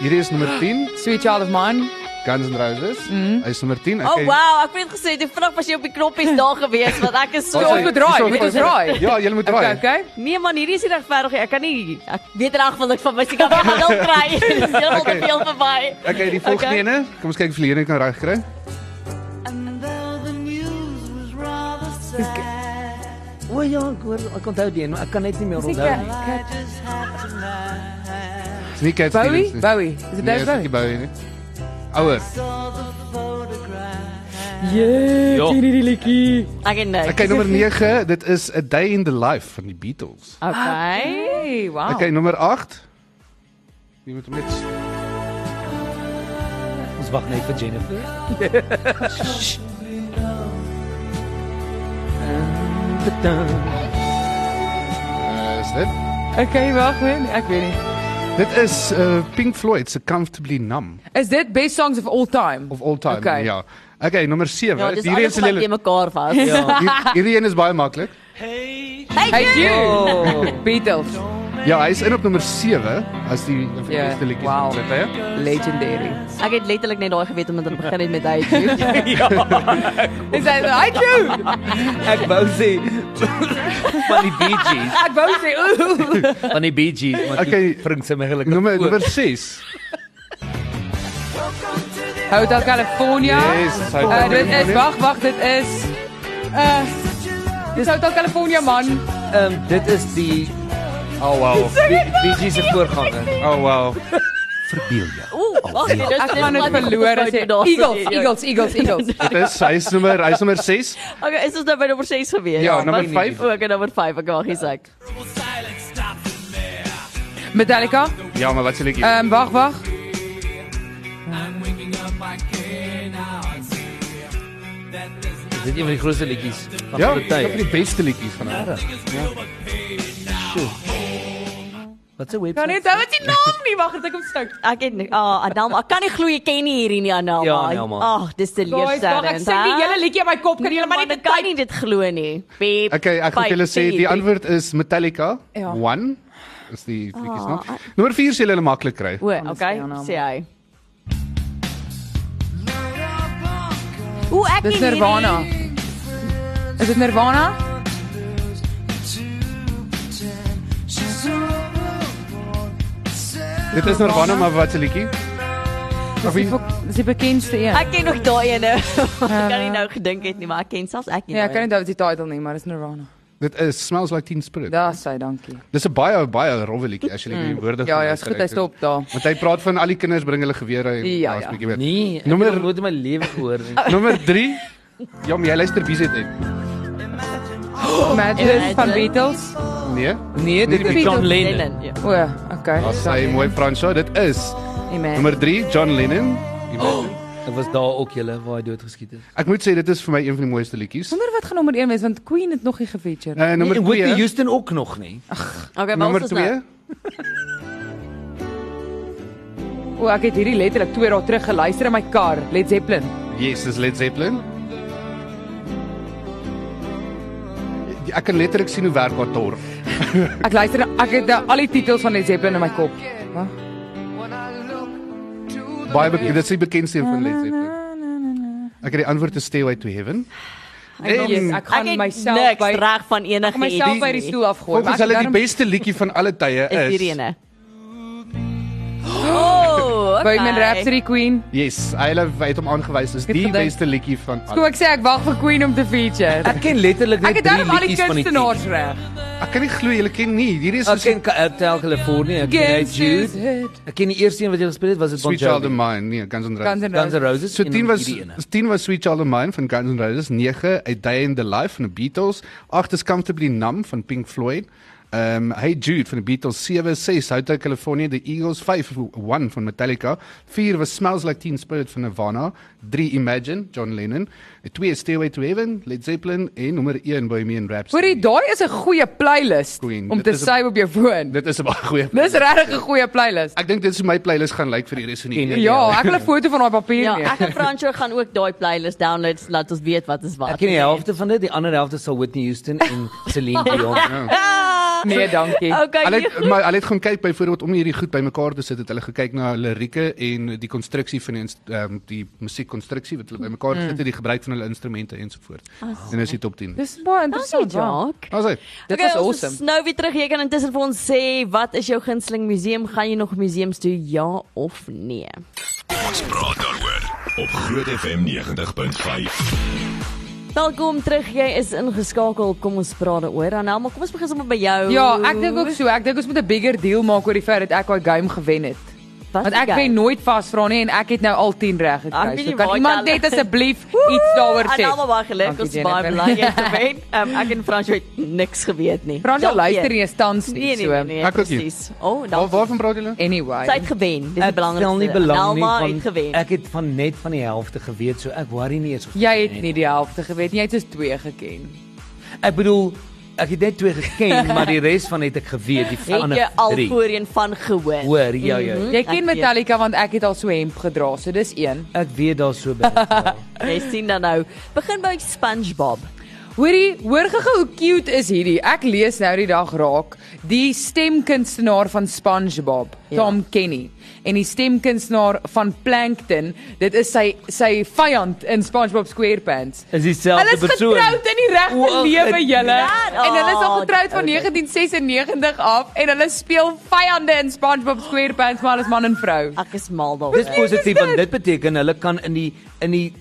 Speaker 5: Hierdie is nommer 10.
Speaker 3: Sweet Child of Mine.
Speaker 5: Guns N' Roses. Hy's nommer 10. Ek
Speaker 2: Oh
Speaker 5: ken-
Speaker 2: wow, ek het gesê die vrag was jy op die knoppies daar gewees want ek is so
Speaker 5: Ons
Speaker 3: Ons
Speaker 5: Sorry,
Speaker 3: moet draai,
Speaker 5: sorry.
Speaker 3: moet ons draai.
Speaker 5: Ja, jy moet
Speaker 3: Okay,
Speaker 5: raai.
Speaker 3: okay.
Speaker 2: Nee man, hierdie is nie regverdig nie. Ek kan nie. Ek weet reg wat ek van my seker gaan wil kry. Dit is heeltemal te veel verby.
Speaker 5: Okay, die volgende
Speaker 2: Okay.
Speaker 5: ene. Kom ons kyk of Helene kan reg kry.
Speaker 4: O ja, ek hoor ek onthou die een, maar ek kan net nie meer onthou nie.
Speaker 5: Dis nie Cat
Speaker 3: Bowie,
Speaker 5: Stevens nie.
Speaker 3: Bowie. Is dit
Speaker 5: Nee,
Speaker 3: David
Speaker 5: is nie
Speaker 3: Bowie?
Speaker 5: Bowie nie. Ouer.
Speaker 4: Ja.
Speaker 2: Ek en niks.
Speaker 5: Okay, nommer 9, dit is A Day in the Life van die Beatles.
Speaker 2: Okay.
Speaker 3: Hey, wow.
Speaker 5: Okay, nommer 8. Jy moet hom net
Speaker 4: Ons wag net vir Jennifer.
Speaker 5: uh, is dit.
Speaker 3: Okay, wag, man. Ek weet nie.
Speaker 5: Dit is uh, Pink Floyd se Comfortably Numb
Speaker 3: Is dit best songs of all time?
Speaker 5: of all time.
Speaker 3: Okay.
Speaker 5: Ja. Okay, nommer 7.
Speaker 2: Ja, dis alles wat jy mekaar vas.
Speaker 4: Ja.
Speaker 5: Hier- Hierdie een is baie maklik.
Speaker 3: Hey,
Speaker 2: Hey,
Speaker 3: you. Beatles.
Speaker 5: Ja, hy is in op nommer 7 as die een van die
Speaker 3: Ja,
Speaker 5: beste liedjies
Speaker 3: wow.
Speaker 5: van dit, hè?
Speaker 3: Legendary.
Speaker 2: ek het letterlik net daai geweet omdat hulle begin het met hy.
Speaker 3: Is hy hy you?
Speaker 4: Ek wou sê van die Bee Gees,
Speaker 3: Ek wou sê ooh.
Speaker 4: van die Bee Gees, maar
Speaker 5: Okay.
Speaker 4: okay. bring sy my gelukkig.
Speaker 5: Nommer
Speaker 4: oor.
Speaker 5: nommer 6.
Speaker 3: Hotel California.
Speaker 5: Yes, dis Hotel
Speaker 3: Eh, dit is
Speaker 5: California.
Speaker 3: wag, wag, dit is uh Dis Hotel California man.
Speaker 4: Ehm um, dit is die
Speaker 5: Oh wow.
Speaker 4: Bee, Bee Gees se voorganger.
Speaker 5: Oh wow.
Speaker 4: Verbeel jou.
Speaker 2: Ooh, wag, dit
Speaker 3: Ek gaan dit verloor as jy Eagles, Eagles, Eagles, Eagles.
Speaker 5: Dit is hy is nommer hy is nommer 6.
Speaker 2: Okay, is ons nou by nommer 6 gewees?
Speaker 5: Ja, nommer
Speaker 2: wat-
Speaker 5: vyf.
Speaker 2: O, Okay, nommer 5. Okay, wag, hier's ek.
Speaker 3: Metallica.
Speaker 5: Ja, maar wat se liedjie?
Speaker 3: Ehm wag, wag.
Speaker 4: Dit is een van die grootste liedjies van
Speaker 5: Ja,
Speaker 4: alle
Speaker 5: dit is
Speaker 4: tye.
Speaker 5: van die beste liedjies van hulle.
Speaker 4: Wat se
Speaker 3: Kan
Speaker 4: webwerf?
Speaker 3: net hou dit naam nie, wag, ek hom stout.
Speaker 2: Ek het nie- ah, Anelma, ek kan nie glo jy ken nie hierdie nie Anelma.
Speaker 4: Ja, Anelma.
Speaker 2: Ag, dis te
Speaker 3: Guys, wag, ek
Speaker 2: leerstellend.
Speaker 3: sing die
Speaker 2: hè?
Speaker 3: hele liedjie in my kop, kan
Speaker 2: Nee,
Speaker 3: julle maar
Speaker 2: man,
Speaker 3: net
Speaker 2: ek kan nie dit glo nie. Beep,
Speaker 5: Okay, ek gaan vir julle sê
Speaker 2: vyf,
Speaker 5: die
Speaker 2: drie,
Speaker 5: antwoord is Metallica.
Speaker 3: Ja.
Speaker 5: One is die liedjie se
Speaker 2: Ah,
Speaker 5: naam. Nommer 4 sê hulle maklik kry.
Speaker 2: O,
Speaker 3: Anders
Speaker 2: okay,
Speaker 3: sê Anna.
Speaker 2: sê hy. O, ek
Speaker 3: Dis
Speaker 2: ken
Speaker 3: Nirvana.
Speaker 2: hierdie.
Speaker 3: Is dit Nirvana?
Speaker 5: Dit is Nirvana, maar wat se liedjie? Of
Speaker 3: Dis
Speaker 5: wie?
Speaker 3: die fok- Dis die bekendste een.
Speaker 2: Ek ken nog daai ene. Wat ek kan nie nou gedink het nie, maar ek ken selfs ek nie.
Speaker 3: Ja, ek
Speaker 2: nou.
Speaker 3: kan nie onthou die titel nie, maar dis Nirvana.
Speaker 5: Dit is Smells Like Teen Spirit.
Speaker 3: Daar sê dankie.
Speaker 5: Dis 'n baie baie rowwe liedjie as jy net die woorde
Speaker 3: Ja,
Speaker 5: gaan
Speaker 3: ja, is goed, hy
Speaker 5: uitreik.
Speaker 3: stop daar.
Speaker 5: Want hy praat van al die kinders bring hulle gewere en
Speaker 3: Ja,
Speaker 5: daar's
Speaker 3: ja.
Speaker 5: 'n bietjie meer.
Speaker 4: Nee, ek
Speaker 5: Nommer-
Speaker 4: Nummer... het nooit in my lewe gehoor nie.
Speaker 5: Nommer 3. Ja, maar jy luister BZN.
Speaker 3: Oh. Imagine van Beatles.
Speaker 5: Nee.
Speaker 4: Nee, dit is
Speaker 3: Beatles.
Speaker 4: John Lennon.
Speaker 2: Lennon, ja.
Speaker 3: O, okay.
Speaker 5: Daar's hy mooi Franso. Dit is
Speaker 3: Amen.
Speaker 5: nommer 3 John Lennon.
Speaker 4: Ek was daar ook julle waar hy doodgeskiet is.
Speaker 5: Ek moet sê dit is vir my een van die mooiste liedjies.
Speaker 3: Wonder wat gaan nommer 1 wees want Queen het nog nie gefeature.
Speaker 5: Uh, nommer
Speaker 4: Nee, en Whitney
Speaker 5: 2.
Speaker 4: Houston ook nog nie.
Speaker 2: Okay, maar
Speaker 5: Nommer
Speaker 2: ons is nou.
Speaker 5: 2.
Speaker 3: O, ek het hierdie letterlik 2 dae terug geluister in my kar, Led Zeppelin.
Speaker 5: Yes, dis Led Zeppelin. Ja, Ek kan letterlik sien hoe werk haar tor.
Speaker 3: Ek luister ek het uh, al die titels van Led Zeppelin in my kop. Wag.
Speaker 5: Baie bekend, dit is die bekendste een van Led Zeppelin. Ek het die antwoord te Stay Away to Heaven.
Speaker 3: weet
Speaker 5: En
Speaker 3: nie, ek gaan
Speaker 2: het
Speaker 3: myself
Speaker 2: niks
Speaker 3: by-
Speaker 2: reg van enige
Speaker 3: Ek myself by die stoel afgooi. maar
Speaker 5: volgens
Speaker 3: ek
Speaker 5: hulle die
Speaker 3: daarom-
Speaker 5: beste liedjie van alle tye
Speaker 2: is hierdie
Speaker 5: is.
Speaker 2: ene. Oh, okay.
Speaker 3: Bohemian Rhapsody Queen.
Speaker 5: Yes, hulle het hom aangewys as
Speaker 3: het
Speaker 5: die
Speaker 3: gedink-
Speaker 5: beste liedjie van
Speaker 3: Kom
Speaker 5: alle.
Speaker 3: ek sê ek wag vir Queen om te feature.
Speaker 4: Ek ken letterlik
Speaker 3: Ek
Speaker 4: net
Speaker 3: het
Speaker 4: drie
Speaker 3: daarom al die
Speaker 4: liedjies van die tien.
Speaker 3: kunstenaars reg.
Speaker 5: Ek kan nie glo julle ken nie. Hierdie is
Speaker 4: Ek
Speaker 5: soos
Speaker 4: ken Ka- Hotel California, ek ken Hey
Speaker 3: Against His
Speaker 4: Jude.
Speaker 3: Head.
Speaker 4: Ek ken die eerste een wat jy gespeel het, was dit Bon
Speaker 5: Sweet Child of
Speaker 4: Jovi.
Speaker 5: Mine, nee, Guns N'
Speaker 3: Guns
Speaker 5: Roses.
Speaker 3: N'
Speaker 4: Guns N'
Speaker 3: Roses.
Speaker 4: Roses.
Speaker 5: So
Speaker 4: en
Speaker 5: 10
Speaker 4: dan
Speaker 5: was
Speaker 4: hierdie ene.
Speaker 5: 10 was Sweet Child of Mine van Guns N' Roses, 9 A Day in the Life van die Beatles, 8 is Comfortably Numb van Pink Floyd. Ehm um, Hey Jude van die Beatles 7 6 Hotel California the Eagles 5 1 van Metallica 4 was Smells Like Teen Spirit van Nirvana 3 Imagine John Lennon 2 Stairway to Heaven Led Zeppelin en nommer 1 Bohemian
Speaker 3: Hoorie,
Speaker 5: Rhapsody
Speaker 3: daai is 'n goeie playlist
Speaker 5: Queen,
Speaker 3: om
Speaker 5: dit
Speaker 3: te
Speaker 5: is 'n-
Speaker 3: save op jou foon.
Speaker 5: Dit is 'n baie goeie
Speaker 3: Dis regtig 'n goeie playlist.
Speaker 5: Ek dink dit is hoe my playlist gaan lyk vir die res van die
Speaker 4: En-
Speaker 5: week
Speaker 3: Ja, ek wil 'n foto van daai papier
Speaker 2: Ja,
Speaker 3: neem.
Speaker 2: ek en Franco gaan ook daai playlist download, laat ons weet wat is wat.
Speaker 4: Ek ken die helfte van dit, die ander helfte sal Whitney Houston en Celine Dion.
Speaker 2: Ah!
Speaker 3: Nee, dankie.
Speaker 2: Okay,
Speaker 5: Hulle
Speaker 2: nee,
Speaker 5: het, maar hulle het gaan kyk byvoorbeeld om hierdie goed bymekaar te sit, het hulle gekyk na lirieke en die konstruksie van die inst- ehm um, die musiekkonstruksie wat hulle bymekaar gesit het, die gebruik van hulle instrumente ensovoorts. En is die top 10.
Speaker 3: Dis baie
Speaker 2: dankie
Speaker 3: interessant. Ja.
Speaker 2: Jock.
Speaker 5: Ons sê
Speaker 3: Dit
Speaker 2: okay,
Speaker 3: was
Speaker 2: ons
Speaker 3: awesome.
Speaker 2: is Nou weer terug hier kan intussen vir ons sê wat is jou gunsteling museum? Gaan jy nog museums toe ja of nee?
Speaker 1: Ons praat daaroor op Groot FM 90.5.
Speaker 2: Welkom terug. Jy is ingeskakel. Kom ons praat daaroor. Anel, maar kom ons begin sommer by jou.
Speaker 3: Ja, ek dink ook so. Ek dink ons moet 'n bigger deal maak oor die feit dat ek daai game gewen het.
Speaker 2: Wat
Speaker 3: Want ek
Speaker 2: jy?
Speaker 3: wen nooit vasvra nie en ek het nou al 10 reg
Speaker 2: Ek
Speaker 3: gekry.
Speaker 2: weet
Speaker 3: So
Speaker 2: nie
Speaker 3: kan
Speaker 2: waar
Speaker 3: iemand
Speaker 2: jy al-
Speaker 3: net asseblief iets daaroor sê?
Speaker 2: Anel, maar wag,
Speaker 3: Dankie,
Speaker 2: ek is baie
Speaker 3: Jennifer.
Speaker 2: bly jy het te wen. Um, ek en Frans het niks geweet nie.
Speaker 3: Frans
Speaker 2: Dankie.
Speaker 3: luister nie eens tans nie.
Speaker 2: Nee, nee, nee,
Speaker 3: So
Speaker 2: nee
Speaker 5: Ek ook nie.
Speaker 2: presies. O,
Speaker 5: waar,
Speaker 2: dan
Speaker 5: waarvan praat julle?
Speaker 3: anyway.
Speaker 2: sy het gewen. Dis die belangrikste.
Speaker 4: stel nie belang nie
Speaker 2: Anelma
Speaker 4: van
Speaker 2: het gewen.
Speaker 4: ek het van net van die helfte geweet, so ek worry nie eens. of
Speaker 3: Jy
Speaker 4: ek
Speaker 3: het nie die helfte geweet nie. Jy het soos 2 geken.
Speaker 4: Ek bedoel, ek het net twee geken, maar die res van het ek geweet, die
Speaker 2: het
Speaker 4: ander
Speaker 2: jy al
Speaker 4: drie.
Speaker 2: voorheen van gehoor.
Speaker 4: Hoor, ja ja.
Speaker 2: Mhm.
Speaker 3: Jy
Speaker 2: Ek
Speaker 3: ken
Speaker 2: weet.
Speaker 3: Metallica want ek het al so 'n hemp gedra, so dis 1.
Speaker 4: Ek weet daar so baie.
Speaker 2: Jy sien dan nou. Begin by SpongeBob.
Speaker 3: Hoorie, hoor gou hoe cute is hierdie. Ek lees nou die dag raak die stemkunstenaar van SpongeBob,
Speaker 2: Ja.
Speaker 3: Tom Kenny, en die stemkunstenaar van Plankton, dit is sy sy vyand in SpongeBob SquarePants. Hulle
Speaker 4: Is dieselfde
Speaker 3: is
Speaker 4: persoon.
Speaker 3: getroud in die regte
Speaker 4: Wow,
Speaker 3: lewe
Speaker 4: het-
Speaker 3: julle.
Speaker 2: Ja,
Speaker 3: En hulle is al
Speaker 2: oh,
Speaker 3: getroud van
Speaker 2: okay.
Speaker 3: 1996 af en hulle speel vyande in SpongeBob SquarePants, maar hulle is man en vrou.
Speaker 2: Ek is mal
Speaker 4: Dis
Speaker 2: daaroor.
Speaker 4: positief want dit beteken hulle kan in die in die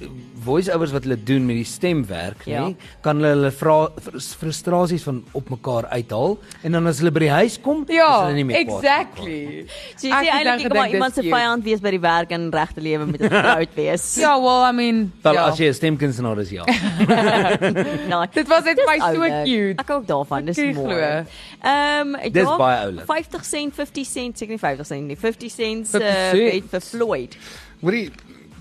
Speaker 4: voice-overs wat hulle doen met die stemwerk,
Speaker 2: Ja.
Speaker 4: ja. nê, kan hulle hulle vra frus- frustrasies van op mekaar uithaal en dan as hulle by die huis kom, is
Speaker 3: Ja,
Speaker 4: hulle nie meer kwaad.
Speaker 3: exactly.
Speaker 2: So jy
Speaker 3: Ek
Speaker 2: sê
Speaker 3: het dan
Speaker 2: eintlik jy kan maar
Speaker 3: gedink
Speaker 2: iemand se
Speaker 3: dis cute.
Speaker 2: vyand wees by die werk en regte lewe met 'n proud wees.
Speaker 3: Ja, well, I mean,
Speaker 4: Wel
Speaker 3: ja.
Speaker 4: as jy 'n stemkunstenaar is, ja.
Speaker 2: nou,
Speaker 3: Dit was net my so
Speaker 2: oulik.
Speaker 3: cute.
Speaker 2: Ek hou ook daarvan, dis
Speaker 3: Ek kan nie
Speaker 2: mooi.
Speaker 3: glo.
Speaker 2: Ehm
Speaker 4: Dis
Speaker 2: ja,
Speaker 4: baie oulik.
Speaker 2: 50 sent, 50 sent, seker nie 50 sent nie. 50 sent
Speaker 3: 50
Speaker 2: eh,
Speaker 3: cent.
Speaker 2: het vir Floyd.
Speaker 5: Hoorie,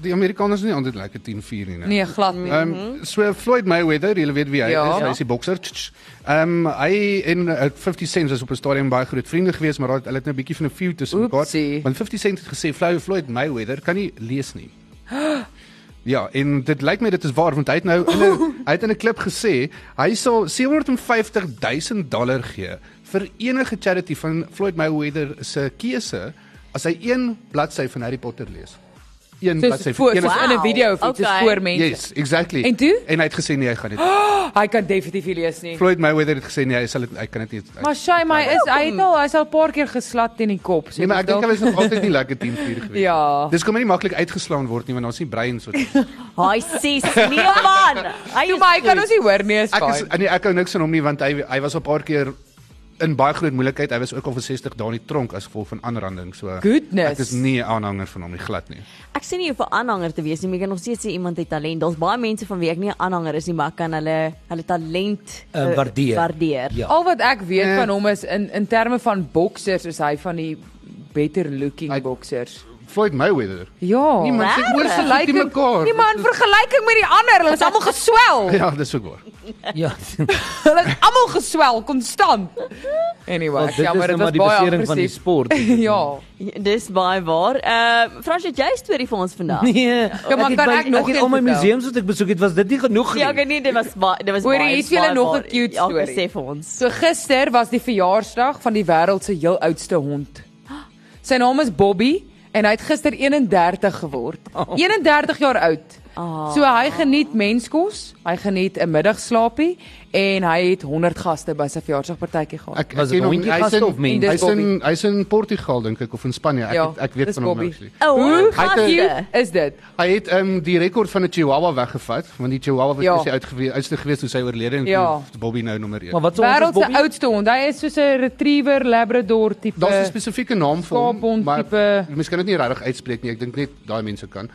Speaker 5: die Amerikaners is nie altyd lekker 10-4 nie. né?
Speaker 3: Nee, glad nie.
Speaker 5: Ehm um, so Floyd Mayweather, jy weet wie hy
Speaker 3: Ja.
Speaker 5: is, hy is die bokser. Tsch, tsch. Ehm um, hy en uh, 50 Cent was op 'n stadium baie groot vriende gewees, maar hulle het- hulle het nou 'n bietjie van 'n feud tussen
Speaker 3: Oepsie.
Speaker 5: mekaar. Want 50 Cent het gesê Floyd Floyd Mayweather kan nie lees nie. Ja, en dit lyk my dit is waar want hy het nou in 'n hy het in 'n klip gesê hy sal 750 000 dollar gee vir enige charity van Floyd Mayweather se keuse as hy een bladsy van Harry Potter lees. Een
Speaker 3: Soos
Speaker 5: bladsy
Speaker 3: voor,
Speaker 5: enige-
Speaker 3: soos in 'n
Speaker 2: Wow,
Speaker 3: video of iets soos
Speaker 2: okay.
Speaker 3: voor mense.
Speaker 5: Yes, exactly.
Speaker 3: En toe?
Speaker 5: En hy het gesê nee, hy gaan nie.
Speaker 3: Hy kan definitief nie lees nie.
Speaker 5: Floyd Mayweather het gesê nee, hy sal dit hy kan dit nie. hy-
Speaker 3: Maar Shay, my is hy
Speaker 2: Ehm.
Speaker 3: het al hy's al 'n paar keer geslat teen die kop. So
Speaker 5: Nee, maar ek dink
Speaker 3: dalk-
Speaker 5: hy was nog altyd nie lekker team 4 gewees.
Speaker 3: Ja.
Speaker 5: Dis kom hy nie maklik uitgeslaan word nie want daar's nie breins wat Ek
Speaker 2: Hy sê nee man. Hy
Speaker 3: Toe
Speaker 2: is
Speaker 3: maar hy kan
Speaker 2: goed.
Speaker 3: ons nie hoor nie, is
Speaker 5: is
Speaker 3: fyn.
Speaker 5: nee, ek hou niks van hom nie want hy hy was op 'n paar keer in baie groot moeilikheid. Hy was ook al vir 60 dae in die tronk as gevolg van aanranding. So
Speaker 3: Goodness.
Speaker 5: ek is nie 'n aanhanger van hom nie glad nie.
Speaker 2: Ek sien nie hoe vir aanhanger te wees nie, maar jy kan nog steeds sê iemand het talent. Daar's baie mense van wie ek nie 'n aanhanger is nie, maar ek kan hulle hulle talent
Speaker 4: Eh,
Speaker 2: eh,
Speaker 4: waardeer.
Speaker 2: waardeer.
Speaker 4: Ja.
Speaker 3: Al wat ek weet
Speaker 5: Nee.
Speaker 3: van hom is in in terme van boksers is hy van die better looking
Speaker 5: Hy-
Speaker 3: boksers.
Speaker 5: Floyd Mayweather.
Speaker 3: Ja.
Speaker 5: Niemand sê
Speaker 2: Regtig?
Speaker 5: oor se lyk die mekaar.
Speaker 3: Nee man, vergelyking met die ander, hulle is almal geswel.
Speaker 5: Ja, dis ook waar.
Speaker 4: Ja.
Speaker 3: Hulle is almal geswel konstant. Anyway,
Speaker 4: Wel,
Speaker 3: ek
Speaker 4: dit is
Speaker 3: jammer,
Speaker 4: nou
Speaker 3: dit was
Speaker 4: maar die
Speaker 3: baie
Speaker 4: besering van die
Speaker 3: aggressief.
Speaker 4: sport.
Speaker 3: Ja.
Speaker 2: Dis baie waar. Ehm uh, Frans, het jy 'n storie vir ons vandag?
Speaker 4: Nee.
Speaker 3: Ja, maar
Speaker 4: het
Speaker 3: kan
Speaker 4: by-
Speaker 3: ek nog
Speaker 4: het
Speaker 3: een
Speaker 4: al my
Speaker 3: vertel?
Speaker 4: museums wat ek besoek het, was dit nie genoeg nie.
Speaker 2: Ja, okay, nee, dit was baie dit was
Speaker 3: Hoorie,
Speaker 2: baie.
Speaker 3: hier is vir julle
Speaker 2: baie
Speaker 3: nog
Speaker 2: waar.
Speaker 3: 'n cute
Speaker 2: Ja, okay,
Speaker 3: storie.
Speaker 2: Sê vir ons.
Speaker 3: So gister was die verjaarsdag van die wêreld se heel oudste hond. Sy naam is Bobby en hy het gister 31 geword.
Speaker 5: Oh.
Speaker 3: 31 jaar oud.
Speaker 2: Ah.
Speaker 3: So hy geniet menskos, hy geniet 'n middagslaapie en hy het 100 gaste by sy verjaarsdagpartytjie gehad.
Speaker 5: Ek
Speaker 4: Was
Speaker 5: ken
Speaker 4: dit
Speaker 5: hom-
Speaker 4: hondjie
Speaker 5: hy's
Speaker 4: gaste
Speaker 5: in-
Speaker 4: of mens?
Speaker 5: Hy's
Speaker 3: Dis
Speaker 5: in hy's in Portugal dink ek of in Spanje. Ek
Speaker 3: Ja,
Speaker 5: het- ek weet
Speaker 3: dis
Speaker 5: van hom nou
Speaker 3: Bobby.
Speaker 5: actually.
Speaker 2: Oh,
Speaker 3: Hoe
Speaker 5: hy het een-
Speaker 2: gaatjie.
Speaker 3: cute is dit?
Speaker 5: Hy het ehm um, die rekord van 'n Chihuahua weggevat, want die Chihuahua was
Speaker 3: Ja.
Speaker 5: ja. uitgewees uitste gewees toe sy oorlede en
Speaker 3: Ja.
Speaker 5: ja. Bobby nou nommer 1.
Speaker 4: Maar wat sou
Speaker 3: Wêreld
Speaker 4: ons
Speaker 3: se
Speaker 4: Bobby?
Speaker 3: oudste hond. Hy is soos 'n retriever labrador tipe.
Speaker 5: Daar's 'n spesifieke naam vir hom,
Speaker 3: Skaaphond
Speaker 5: maar
Speaker 3: tipe.
Speaker 5: mens kan dit nie regtig uitspreek nie. Ek dink net daai mense kan.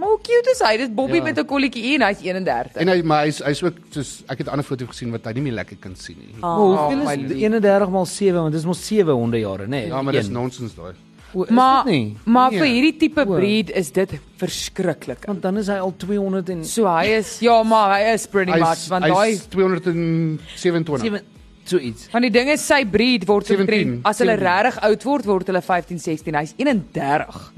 Speaker 3: Maar hoe cute is hy? Dis Bobby
Speaker 4: Ja.
Speaker 3: met 'n kolletjie en hy's 31.
Speaker 5: En hy maar hy's hy's ook soos ek het 'n ander foto gesien wat hy nie meer lekker kan sien nie.
Speaker 2: Oh,
Speaker 4: Hoeveel
Speaker 3: my
Speaker 4: is
Speaker 3: lief.
Speaker 4: 31 maal 7 want dis mos 7 hondejare, nê?
Speaker 5: Ja, maar dis
Speaker 4: Een.
Speaker 5: nonsens daai.
Speaker 4: O, is
Speaker 3: Maar
Speaker 4: dit nie.
Speaker 3: maar
Speaker 5: Nee.
Speaker 3: vir hierdie tipe
Speaker 4: Wow.
Speaker 3: breed is dit verskriklik.
Speaker 4: Want dan is hy al 200 en
Speaker 3: So hy is ja, maar hy is pretty much
Speaker 5: Hy's
Speaker 3: want daai
Speaker 5: hy's 227.
Speaker 4: Sewe- so iets.
Speaker 3: want die ding is sy breed word
Speaker 5: 17,
Speaker 3: omtrent as hulle
Speaker 5: 17.
Speaker 3: regtig oud word word hulle 15, 16. Hy's 31.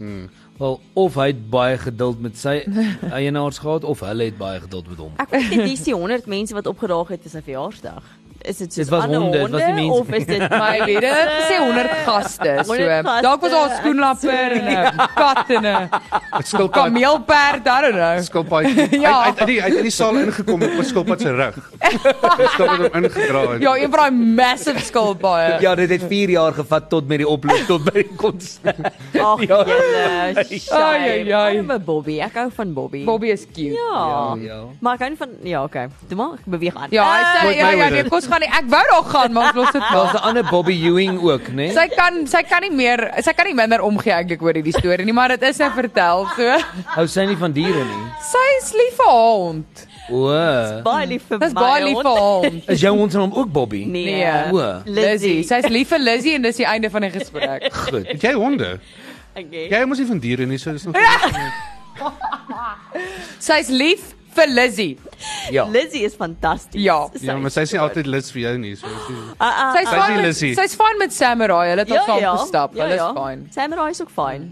Speaker 4: Wel of hy het baie geduld met sy eienaars gehad of hulle het baie geduld met hom.
Speaker 2: Ek weet net dis die 100 mense wat opgedaag het vir sy verjaarsdag. is dit
Speaker 4: Dit
Speaker 2: soos
Speaker 4: was
Speaker 2: ander
Speaker 4: honde,
Speaker 2: honde,
Speaker 4: dit was nie mense
Speaker 2: of is dit
Speaker 3: My weet dit sê 100 gaste. So
Speaker 2: 100 gaste,
Speaker 3: dalk was daar 'n skoenlapper en 'n kat en 'n
Speaker 5: Dit skilpad
Speaker 3: kameelperd, I don't know.
Speaker 5: skilpad.
Speaker 3: Ja.
Speaker 5: Hy het uit die uit die saal ingekom op 'n skilpad se rug. Die Skilpad het hom ingedraai.
Speaker 3: Ja, een van daai massive skilpaaie.
Speaker 4: Ja, dit het 4 jaar gevat tot met die oploop tot by die konsert.
Speaker 2: Ag
Speaker 4: Ja.
Speaker 2: julle.
Speaker 3: Ai, ai, ai.
Speaker 2: Arme Bobby. Ek hou van Bobby.
Speaker 3: Bobby is cute.
Speaker 2: Ja.
Speaker 4: Ja, ja.
Speaker 2: Maar ek hou nie van ja, okay. Toe maar ek beweeg aan. Ah,
Speaker 3: Ja, hy
Speaker 5: Floyd
Speaker 3: sê ja ja,
Speaker 5: Mayweather.
Speaker 3: nee, kos gaan nie. Ek wou daar gaan, maar ons los dit
Speaker 4: Daar's
Speaker 3: maar.
Speaker 4: 'n ander Bobby Ewing ook, né?
Speaker 3: Sy kan sy kan nie meer, sy kan nie minder omgee eintlik oor hierdie storie nie, maar dit is nou vertel so.
Speaker 4: Hou sy nie van diere nie.
Speaker 3: Sy is lief vir haar hond.
Speaker 4: O.
Speaker 2: baie lief vir my.
Speaker 3: Dis baie lief vir haar hond.
Speaker 4: Is jou ons naam ook Bobby?
Speaker 2: Nee.
Speaker 3: Nee.
Speaker 4: O.
Speaker 3: Lizzie, sy's lief vir Lizzie en dis die einde van die gesprek.
Speaker 4: Goed.
Speaker 5: Het jy honde?
Speaker 2: Okay.
Speaker 5: Jy mos nie van diere nie, so dis nog
Speaker 3: Sy's lief vir Lizzie.
Speaker 4: Ja.
Speaker 2: Lizzie is fantasties.
Speaker 3: Ja.
Speaker 5: Ja, maar sy's nie altyd lid vir jou nie, so dis nie.
Speaker 2: Ah,
Speaker 3: Sy's
Speaker 5: Sy's
Speaker 3: fine
Speaker 5: nie
Speaker 3: met-
Speaker 5: Lizzie.
Speaker 3: Sy's fine met Samurai. Hulle het al saam gestap. Hulle is fine.
Speaker 2: Samurai is ook fine.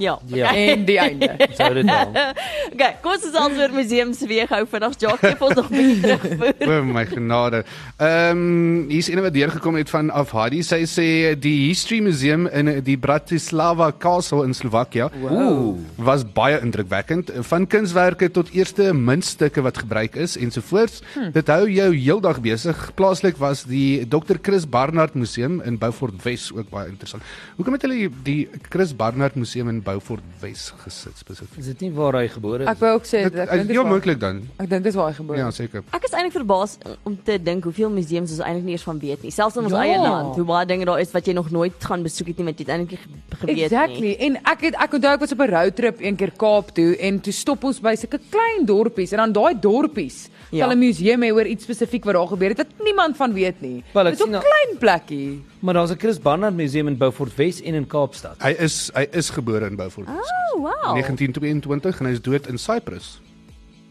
Speaker 2: Ja.
Speaker 4: Ja.
Speaker 3: En die einde.
Speaker 4: Sou dit al.
Speaker 2: Okay, kom ons gesels oor museums weer gou vandag. Jacques gee vir ons nog meer terugvoer.
Speaker 5: O my genade. Ehm um, hier's een wat deurgekom het van Afhadi. Sy sê die History Museum in die Bratislava Castle in Slovakia
Speaker 4: Ooh.
Speaker 5: was baie indrukwekkend, van kunswerke tot eerste muntstukke wat gebruik is ensovoorts. Hm. Dit hou jou heeldag besig. Plaaslik was die Dr. Chris Barnard Museum in Beaufort Wes ook baie interessant. Hoekom het hulle die Chris Barnard Museum in Beaufort Wes gesit spesifiek?
Speaker 4: Is dit nie waar hy gebore
Speaker 3: Ek
Speaker 4: is?
Speaker 3: wou ook sê
Speaker 5: Ja, Dit
Speaker 3: dat ek
Speaker 5: is
Speaker 3: dink dit
Speaker 5: heel
Speaker 3: is waar-
Speaker 5: moontlik dan.
Speaker 3: ek dink dis waar hy gebeur.
Speaker 5: Ja, seker.
Speaker 2: Ek is eintlik verbaas om te dink hoeveel museums ons eintlik nie eers van weet nie, selfs in ons
Speaker 3: Ja.
Speaker 2: eie land. Hoe baie dinge daar is wat jy nog nooit gaan besoek het nie, want jy het eintlik nie ge- geweet nie.
Speaker 3: Exactly. En ek het ek onthou ek was op 'n roadtrip een keer Kaap toe en toe stop ons by sulke klein dorpies en dan daai dorpies
Speaker 2: Ja.
Speaker 3: sal 'n museum hê oor iets spesifiek wat daar gebeur het wat niemand van weet nie.
Speaker 4: Wel, ek
Speaker 3: Dit is 'n
Speaker 4: sien al-
Speaker 3: klein plekkie.
Speaker 4: Maar daar's 'n Chris Barnard Museum in Beaufort Wes en in Kaapstad.
Speaker 5: Hy is hy is gebore in Beaufort Wes.
Speaker 2: Oh, wow.
Speaker 5: 1922 en hy is dood in Cyprus.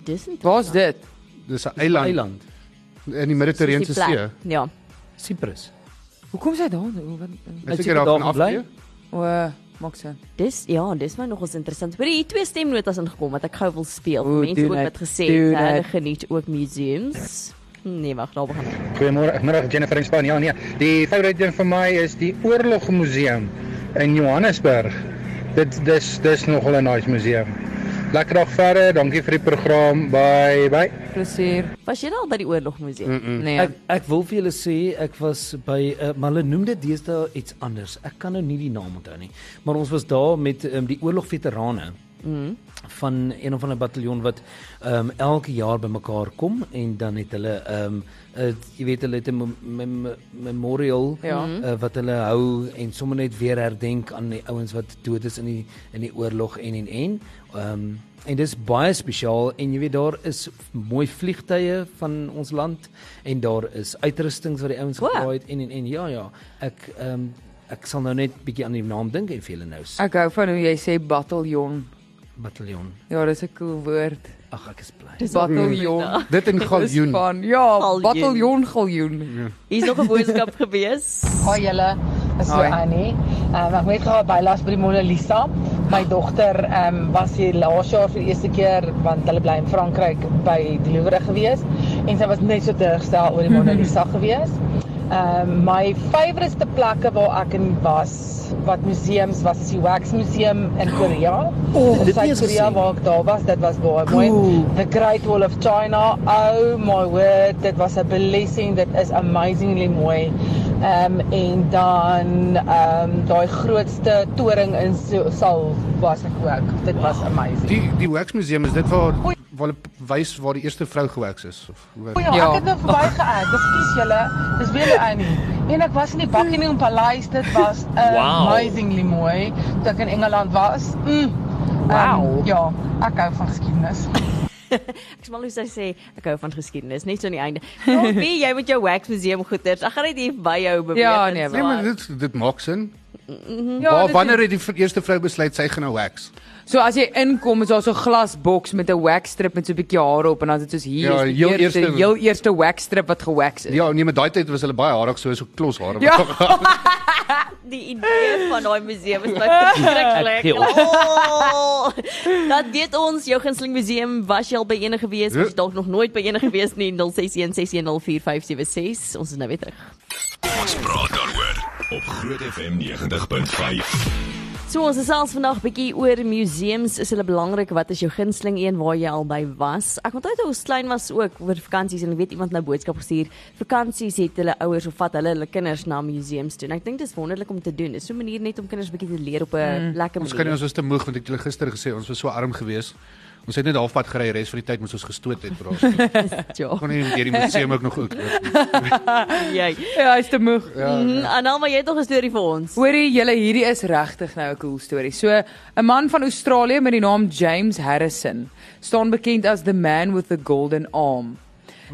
Speaker 2: Dis nie
Speaker 3: Waar's dit?
Speaker 5: Dis 'n eiland,
Speaker 4: Eiland.
Speaker 5: in die
Speaker 3: er
Speaker 5: Middellandse See.
Speaker 2: Ja.
Speaker 4: Cyprus.
Speaker 3: Hoekom is hy daar? Hoe wat
Speaker 5: Ek
Speaker 4: Hy
Speaker 5: seker
Speaker 4: het
Speaker 5: daar van
Speaker 4: daar gebly?
Speaker 5: af.
Speaker 3: O, maak sin.
Speaker 2: Dis ja, dis my nogals interessant. Hoor, hier twee stemnotas ingekom wat ek gou wil speel.
Speaker 3: Oeh,
Speaker 2: Mense
Speaker 3: doen
Speaker 2: ook
Speaker 3: het,
Speaker 2: wat gesê
Speaker 3: doen
Speaker 2: het hulle
Speaker 3: het.
Speaker 2: geniet ook museums. Nee, wag, daar begin. ek.
Speaker 6: Goeiemôre, middag Jennifer en Span. Ja nee, die favourite een vir my is die Oorlogmuseum in Johannesburg. Dit dis dis nogal 'n nice museum. Lekker dag verder. Dankie vir die program. Bye bye.
Speaker 3: Plesier.
Speaker 2: Was jy al by die oorlogmuseum?
Speaker 3: Nee.
Speaker 4: Ek ek wil vir julle sê ek was by uh, maar hulle noem dit deesdae iets anders. Ek kan nou nie die naam onthou nie. Maar ons was daar met um, die oorlogveterane. Mm. van een of ander bataljon wat ehm um, elke jaar bymekaar kom en dan het hulle ehm um, uh, jy weet hulle het 'n mem mem memorial
Speaker 3: Ja.
Speaker 4: uh, wat hulle hou en sommer net weer herdenk aan die ouens wat dood is in die in die oorlog en en en ehm um, en dis baie spesiaal en jy weet daar is mooi vliegtye van ons land en daar is uitrustings wat die ouens
Speaker 2: Wow.
Speaker 4: gebraai het en en en ja ja ek ehm um, ek sal nou net bietjie aan die naam dink en vir julle nou sê.
Speaker 3: Ek hou van hoe jy sê bataljon.
Speaker 4: bataljon
Speaker 3: Ja, dis 'n cool woord.
Speaker 4: ag ek is bly
Speaker 3: Bataljon.
Speaker 5: Dit in
Speaker 3: Dis
Speaker 5: Galjoen.
Speaker 3: van ja,
Speaker 2: Galjoen.
Speaker 3: bataljon galjoen.
Speaker 2: Hier's nog 'n boodskap gewees.
Speaker 7: Hoi julle, is so
Speaker 3: Hoi.
Speaker 7: Annie. Um, ek weet gou bylas by die Mona Lisa.
Speaker 4: Ah.
Speaker 7: My dogter um, was hier laas jaar vir die eerste keer want hulle bly in Frankryk by die Louvre gewees en sy was net so teruggestel oor die Mona
Speaker 4: Mhm.
Speaker 7: Lisa gewees. Um, my favourite plekke waar ek in was wat museums was is die Wax Museum in Korea.
Speaker 4: Oh,
Speaker 7: In
Speaker 4: dit nie eens
Speaker 7: Suid-Korea
Speaker 4: gesien.
Speaker 7: waar ek daar was, dit was baie mooi.
Speaker 4: Cool.
Speaker 7: The Great Wall of China. Oh my word, dit was 'n blessing. Dit is amazingly mooi. Ehm um, en dan ehm um, daai grootste toring in Seoul- Seoul was ek ook. Dit was amazing.
Speaker 5: Die die Wax Museum is dit waar waar hulle wys waar die eerste vrou gewerks is of hoe
Speaker 7: O ja,
Speaker 3: Ja.
Speaker 7: ek het nou verby geëik. Ekskuus julle. Dis weer die Annie. En ek was in die Buckingham Paleis. Dit was amazingly mooi toe ek in Engeland was. Mm. Wow. Um, ja, ek hou van geskiedenis.
Speaker 2: Ek smal hoe sy sê ek hou van geskiedenis, net so aan die einde. Kom wie jy met jou wax museum goeters. Ek gaan net hier by jou beweeg.
Speaker 3: Ja,
Speaker 2: en
Speaker 3: nee,
Speaker 2: so
Speaker 5: Nee, maar
Speaker 2: aan.
Speaker 5: dit dit maak sin.
Speaker 3: Ja,
Speaker 5: Ja,
Speaker 3: dit-
Speaker 5: wanneer het die v- eerste vrou besluit sy gaan nou wax?
Speaker 3: So as jy inkom is daar so 'n glasboks met 'n waxstrip met so 'n bietjie hare op en dan is dit soos hier
Speaker 5: Ja,
Speaker 3: is die
Speaker 5: heel
Speaker 3: eerste,
Speaker 5: eerste-
Speaker 3: heel eerste waxstrip wat gewax is.
Speaker 5: Ja, nee, maar daai tyd was hulle baie harig so so klos hare.
Speaker 3: Ja.
Speaker 2: die idee van daai museum is my verskriklik.
Speaker 4: Ek gee op.
Speaker 2: Oh, dat weet ons jou gunsteling museum was jy al by enige gewees, was jy dalk nog nooit by enige gewees nie. 0616104576. Ons is nou weer terug.
Speaker 1: Praat daaroor op Groot FM 90.5.
Speaker 2: So ons gesels vandag bietjie oor museums. Is hulle belangrik? Wat is jou gunsteling een waar jy al by was? Ek onthou toe ons klein was ook oor vakansies en ek weet iemand nou boodskap gestuur. Vakansies het hulle ouers of vat hulle hulle kinders na museums toe. En ek dink dis wonderlik om te doen. Dis so 'n manier net om kinders bietjie te leer op 'n lekker
Speaker 5: Ons kan nie
Speaker 2: manier.
Speaker 5: ons was te moeg want ek het julle gister gesê ons was so arm geweest. Ons het net halfpad gery, res van die tyd moes ons gestoot het, bro. Ons
Speaker 2: Ja.
Speaker 5: kon nie deur die museum ook nog ook.
Speaker 2: Jy.
Speaker 3: Ja, hy's te moeg.
Speaker 2: Mm, Anelma, jy het tog 'n storie vir ons.
Speaker 3: Hoorie julle, hierdie is regtig nou 'n cool storie. So, 'n man van Australië met die naam James Harrison staan bekend as the man with the golden arm.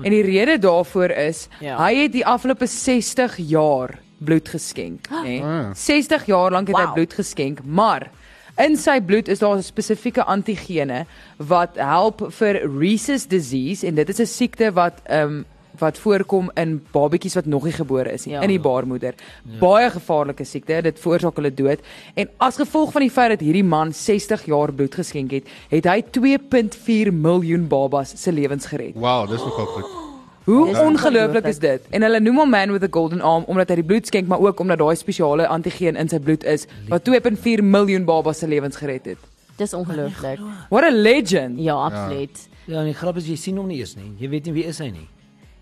Speaker 3: En die rede daarvoor is
Speaker 2: Ja.
Speaker 3: hy het die afgelope 60 jaar bloed geskenk, nê?
Speaker 5: Ah.
Speaker 3: 60 jaar lank het
Speaker 2: Wow.
Speaker 3: hy bloed geskenk, maar in sy bloed is daar 'n spesifieke antigene wat help vir rhesus disease en dit is 'n siekte wat ehm um, wat voorkom in babatjies wat nog nie gebore is nie,
Speaker 2: Ja.
Speaker 3: in die baarmoeder. Baie gevaarlike siekte, dit veroorsaak hulle dood. En as gevolg van die feit dat hierdie man 60 jaar bloed geskenk het, het hy 2.4 miljoen babas se lewens gered.
Speaker 5: Wow, dis nogal goed.
Speaker 3: Hoe
Speaker 2: Dis
Speaker 3: ongelooflik
Speaker 2: ongelooflik.
Speaker 3: is dit? En hulle noem hom man with a golden arm omdat hy die bloed skenk, maar ook omdat daai spesiale antigeen in sy bloed is wat 2.4 miljoen babas se lewens gered het.
Speaker 2: Dis ongelooflik.
Speaker 3: What a legend.
Speaker 2: Ja, absoluut.
Speaker 4: Ja, en die grap is jy sien hom nie eens nie. Jy weet nie wie is hy nie.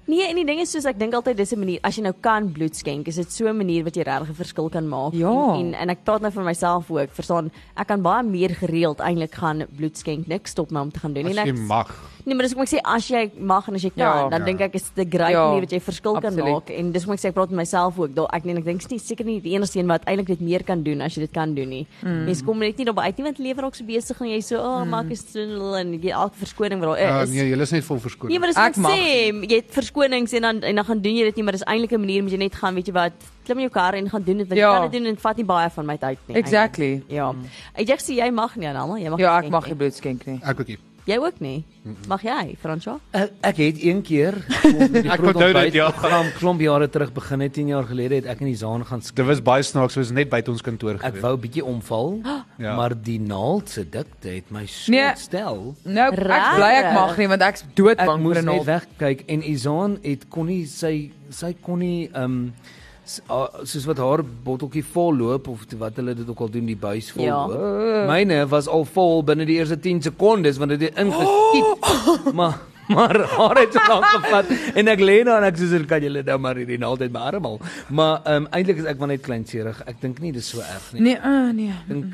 Speaker 2: Nee, en die ding is soos ek dink altyd dis 'n manier as jy nou kan bloed skenk, is dit so 'n manier wat jy regtig 'n verskil kan maak.
Speaker 3: Ja.
Speaker 2: En, en en ek praat nou vir myself ook, verstaan, ek kan baie meer gereeld eintlik gaan bloed skenk, niks stop my om te gaan doen
Speaker 5: As
Speaker 2: en ek
Speaker 5: jy mag.
Speaker 2: nee, maar dis hoekom ek sê as jy mag en as jy kan,
Speaker 3: Ja.
Speaker 2: dan dink ek is dit 'n great
Speaker 3: Ja.
Speaker 2: manier wat jy verskil kan
Speaker 3: Absoluut.
Speaker 2: maak en dis hoekom ek sê ek praat met myself ook. Daar ek nee, ek dink is nie seker nie die enigste een wat eintlik dit meer kan doen as jy dit kan doen nie. Mm. Mense kom net nie daarby uit nie want lewer ook so besig en jy so, "O, oh, mm. maak is en jy elke verskoning wat daar
Speaker 5: Uh,
Speaker 2: is."
Speaker 5: nee, julle is net vol verskoning.
Speaker 2: Nee, maar dis
Speaker 3: Ek
Speaker 2: wat ek
Speaker 3: mag
Speaker 2: sê, jy het verskonings en dan en dan gaan doen jy dit nie, maar dis eintlik 'n manier om jy net gaan, weet jy wat, klim in jou kar en gaan doen dit want
Speaker 3: Ja.
Speaker 2: jy kan dit doen en het vat nie baie van my tyd nie. eintlik.
Speaker 3: Exactly.
Speaker 2: Ja. Ek dink jy mag nie almal, jy mag
Speaker 3: Ja,
Speaker 2: nie
Speaker 3: ek mag nie
Speaker 2: skenk
Speaker 3: bloed skenk nie.
Speaker 5: Ek ook nie.
Speaker 2: nie. Jy ook nie. Mag jy, Fransjo?
Speaker 4: Ek, Eh, ek het een keer ek
Speaker 5: onthou dit, ja.
Speaker 4: Program klomp jare terug begin het 10 jaar gelede het ek in die Zaan gaan skryf.
Speaker 5: Dit was baie snaaks, ons was net buite ons kantoor
Speaker 4: Ek
Speaker 5: gewees.
Speaker 4: wou 'n bietjie omval,
Speaker 5: Ja.
Speaker 4: maar die naald se dikte het my so
Speaker 3: Nee.
Speaker 4: nee. stel.
Speaker 3: Nou, ek
Speaker 2: Rarig.
Speaker 3: bly ek mag nie want ek's
Speaker 4: Ek
Speaker 3: doodbang
Speaker 4: moes
Speaker 3: vir 'n naald.
Speaker 4: net wegkyk en Izaan het kon nie sy sy kon nie ehm s- a- soos wat haar botteltjie vol loop of t- wat hulle dit ook al doen die buis vol
Speaker 2: Ja.
Speaker 4: loop. Myne was al vol binne die eerste 10 sekondes want dit het ingeskiet. Oh! Maar maar haar het so lank gevat en ek lê daar en ek soos kan julle nou maar hierdie naald uit my arm haal. Maar ehm um, eintlik is ek maar net kleinserig. Ek dink nie dis so erg nie.
Speaker 3: Nee, uh, nee.
Speaker 4: Ek dink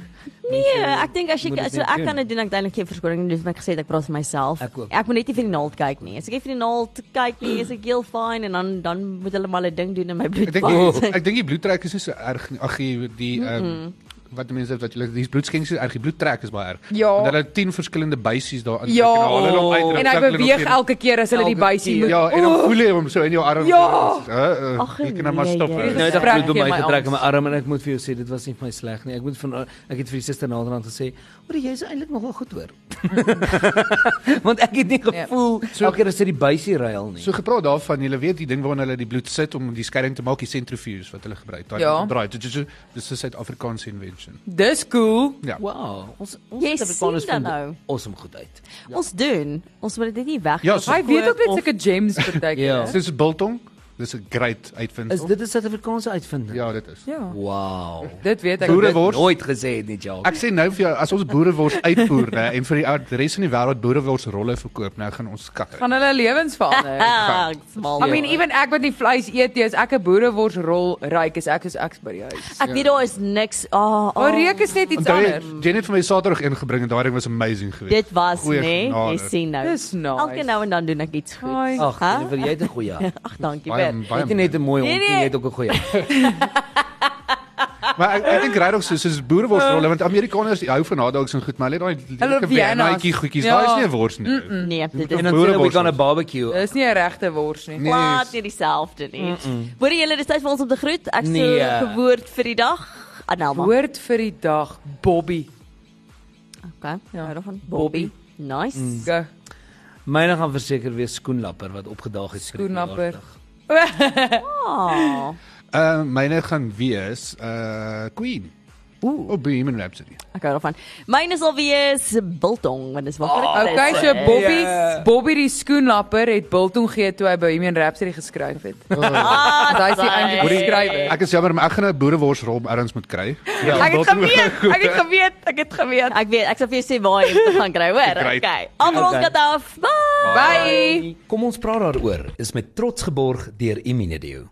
Speaker 2: Nee, ek dink as jy
Speaker 4: Moet dit
Speaker 2: so
Speaker 4: net
Speaker 2: ek
Speaker 4: doen.
Speaker 2: kan dit doen, ek het eintlik geen verskoning nie, dis wat ek gesê het, ek praat vir myself.
Speaker 4: Ek ook.
Speaker 2: ek moet net nie vir die naald kyk nie. As ek nie vir die naald kyk nie, is ek heel fyn en dan dan moet hulle maar 'n ding doen in my bloed.
Speaker 5: Ek dink Oh.
Speaker 2: vat.
Speaker 5: ek dink die bloedtrek is nie so erg nie. Ag, die die ehm um, wat mense wat julle die bloedskenk is erg, die bloedtrek is baie erg.
Speaker 3: Ja.
Speaker 5: Want hulle het 10 verskillende buisies daar in.
Speaker 3: Ja.
Speaker 5: En
Speaker 3: En hy beweeg elke keer as hulle die
Speaker 4: Elke
Speaker 3: buisie
Speaker 4: keer.
Speaker 3: moet.
Speaker 5: Ja, en dan voel jy hom so in jou arm.
Speaker 3: Ja.
Speaker 5: Uh, uh,
Speaker 2: Ag,
Speaker 5: jy kan hom maar
Speaker 2: nee,
Speaker 5: stop.
Speaker 2: jy-
Speaker 4: Nou het ek
Speaker 3: Gesprek
Speaker 4: bloed
Speaker 3: gee
Speaker 4: om my
Speaker 3: my
Speaker 4: getrek in
Speaker 3: angs.
Speaker 4: my arm en ek moet vir jou sê dit was nie vir my sleg nie. Ek moet van ek het vir die suster naderhand gesê, "Hoor jy is eintlik nogal goed hoor." Want ek het nie
Speaker 2: Ja.
Speaker 4: gevoel so, elke keer as dit die buisie ruil nie.
Speaker 5: So gepraat daarvan, julle weet die ding waarna hulle die bloed sit om die skeiding te maak, die centrifuge wat hulle gebruik. Daai
Speaker 3: Ja.
Speaker 5: draai. tju, tju, tju. Dis 'n Suid-Afrikaanse invention.
Speaker 3: Dis cool.
Speaker 5: Ja.
Speaker 4: wow, ons ons
Speaker 2: Jy
Speaker 4: Suid-Afrikaners
Speaker 2: sien dan
Speaker 4: vind dit
Speaker 2: nou.
Speaker 4: awesome goed uit.
Speaker 2: Ons doen. Ons moet dit net weg.
Speaker 5: Ja, so,
Speaker 3: Hy weet ook net
Speaker 2: Of-
Speaker 3: sulke gems beteken.
Speaker 4: Ja.
Speaker 5: dis is biltong. Dis 'n great
Speaker 4: Is
Speaker 5: uitvinding.
Speaker 4: dit 'n Suid-Afrikaanse uitvinding?
Speaker 5: Ja, dit is.
Speaker 3: Ja.
Speaker 4: Wow.
Speaker 3: Dit weet ek.
Speaker 5: Boere
Speaker 3: Dit-
Speaker 5: Boerewors?
Speaker 4: Nooit gesê het nie, Jacques.
Speaker 5: Ek sê nou vir jou as ons boerewors uitvoer nê en vir die ou- die res van die wêreld boerewors rolle verkoop, nou gaan ons kak.
Speaker 3: Gaan hulle lewens verander.
Speaker 2: Ah, smal.
Speaker 3: I mean even ek wat nie vleis eet nie, as ek 'n boerewors rol ryk is ek soos ek's by die huis.
Speaker 2: Ek weet daar is niks. Ah, oh,
Speaker 3: O, oh, reuk is net iets
Speaker 5: Onthou jy
Speaker 3: anders.
Speaker 5: Janet vir my Saterdag ingebring en daai ding was amazing geweest.
Speaker 2: dit was nê,
Speaker 5: Goeie
Speaker 2: nee,
Speaker 5: genade.
Speaker 2: jy sien nou.
Speaker 3: Dis nice.
Speaker 2: Elke nou en dan doen ek iets
Speaker 3: Ai.
Speaker 2: goed.
Speaker 4: Ag,
Speaker 2: Huh?
Speaker 4: huh? jy het 'n goeie jaar.
Speaker 2: Ag, dankie
Speaker 5: baie
Speaker 2: baie.
Speaker 4: Jy
Speaker 5: baie.
Speaker 4: het nie net 'n mooi
Speaker 2: Nee,
Speaker 4: hond, nie,
Speaker 2: nee.
Speaker 4: jy het ook 'n goeie. jaar.
Speaker 5: Maar ek ek dink regtig soos soos boerewors rolle want Amerikaners die hou van hotdogs en goed, maar hulle het daai
Speaker 3: Hulle
Speaker 5: lekker
Speaker 3: Vienna's.
Speaker 5: viennaatjie goedjies.
Speaker 3: Ja.
Speaker 5: Daai is nie 'n wors nie.
Speaker 2: Nee, dit
Speaker 4: En
Speaker 2: is
Speaker 4: dan sê
Speaker 5: Boereworst.
Speaker 4: hulle we gaan 'n barbecue.
Speaker 3: Dis nie 'n regte wors nie.
Speaker 5: Nee.
Speaker 2: glad nie dieselfde nie. Hoor julle, dis tyd vir ons om te groet. Ek sê
Speaker 4: Nee.
Speaker 2: gewoord vir die dag. Anelma.
Speaker 3: Woord vir die dag, Bobby.
Speaker 2: Okay.
Speaker 3: Ja.
Speaker 2: Hou daarvan.
Speaker 3: Bobby.
Speaker 2: Bobby.
Speaker 4: Mm.
Speaker 2: Nice.
Speaker 3: Go.
Speaker 4: Myne gaan verseker wees skoenlapper wat opgedaag het. vir die
Speaker 3: Skoenlapper.
Speaker 4: verjaardag.
Speaker 2: Ah.
Speaker 5: Uh myne gaan wees uh Queen.
Speaker 2: Ooh.
Speaker 5: Of Bohemian Rhapsody.
Speaker 2: Ek hou daarvan. Myne sal wees biltong, want dis maklik. Oh,
Speaker 3: Okay, so Bobby, Bobby die skoenlapper het biltong gee toe hy Bohemian Rhapsody geskryf het.
Speaker 5: Ja,
Speaker 2: Ah,
Speaker 3: Daai is die eintlik
Speaker 2: sy.
Speaker 3: skrywer.
Speaker 5: Ek is jammer, maar ek gaan 'n boerewors rol ergens moet kry.
Speaker 3: Ek het geweet, ek het geweet, ek het geweet.
Speaker 2: Ek weet, ek sal vir jou sê waar jy moet gaan kry, hoor.
Speaker 5: Great.
Speaker 2: Okay. Almal ons
Speaker 4: Okay.
Speaker 2: kat af. Bye.
Speaker 3: Bye.
Speaker 4: Kom ons praat daaroor. Is met trots geborg deur Immediate.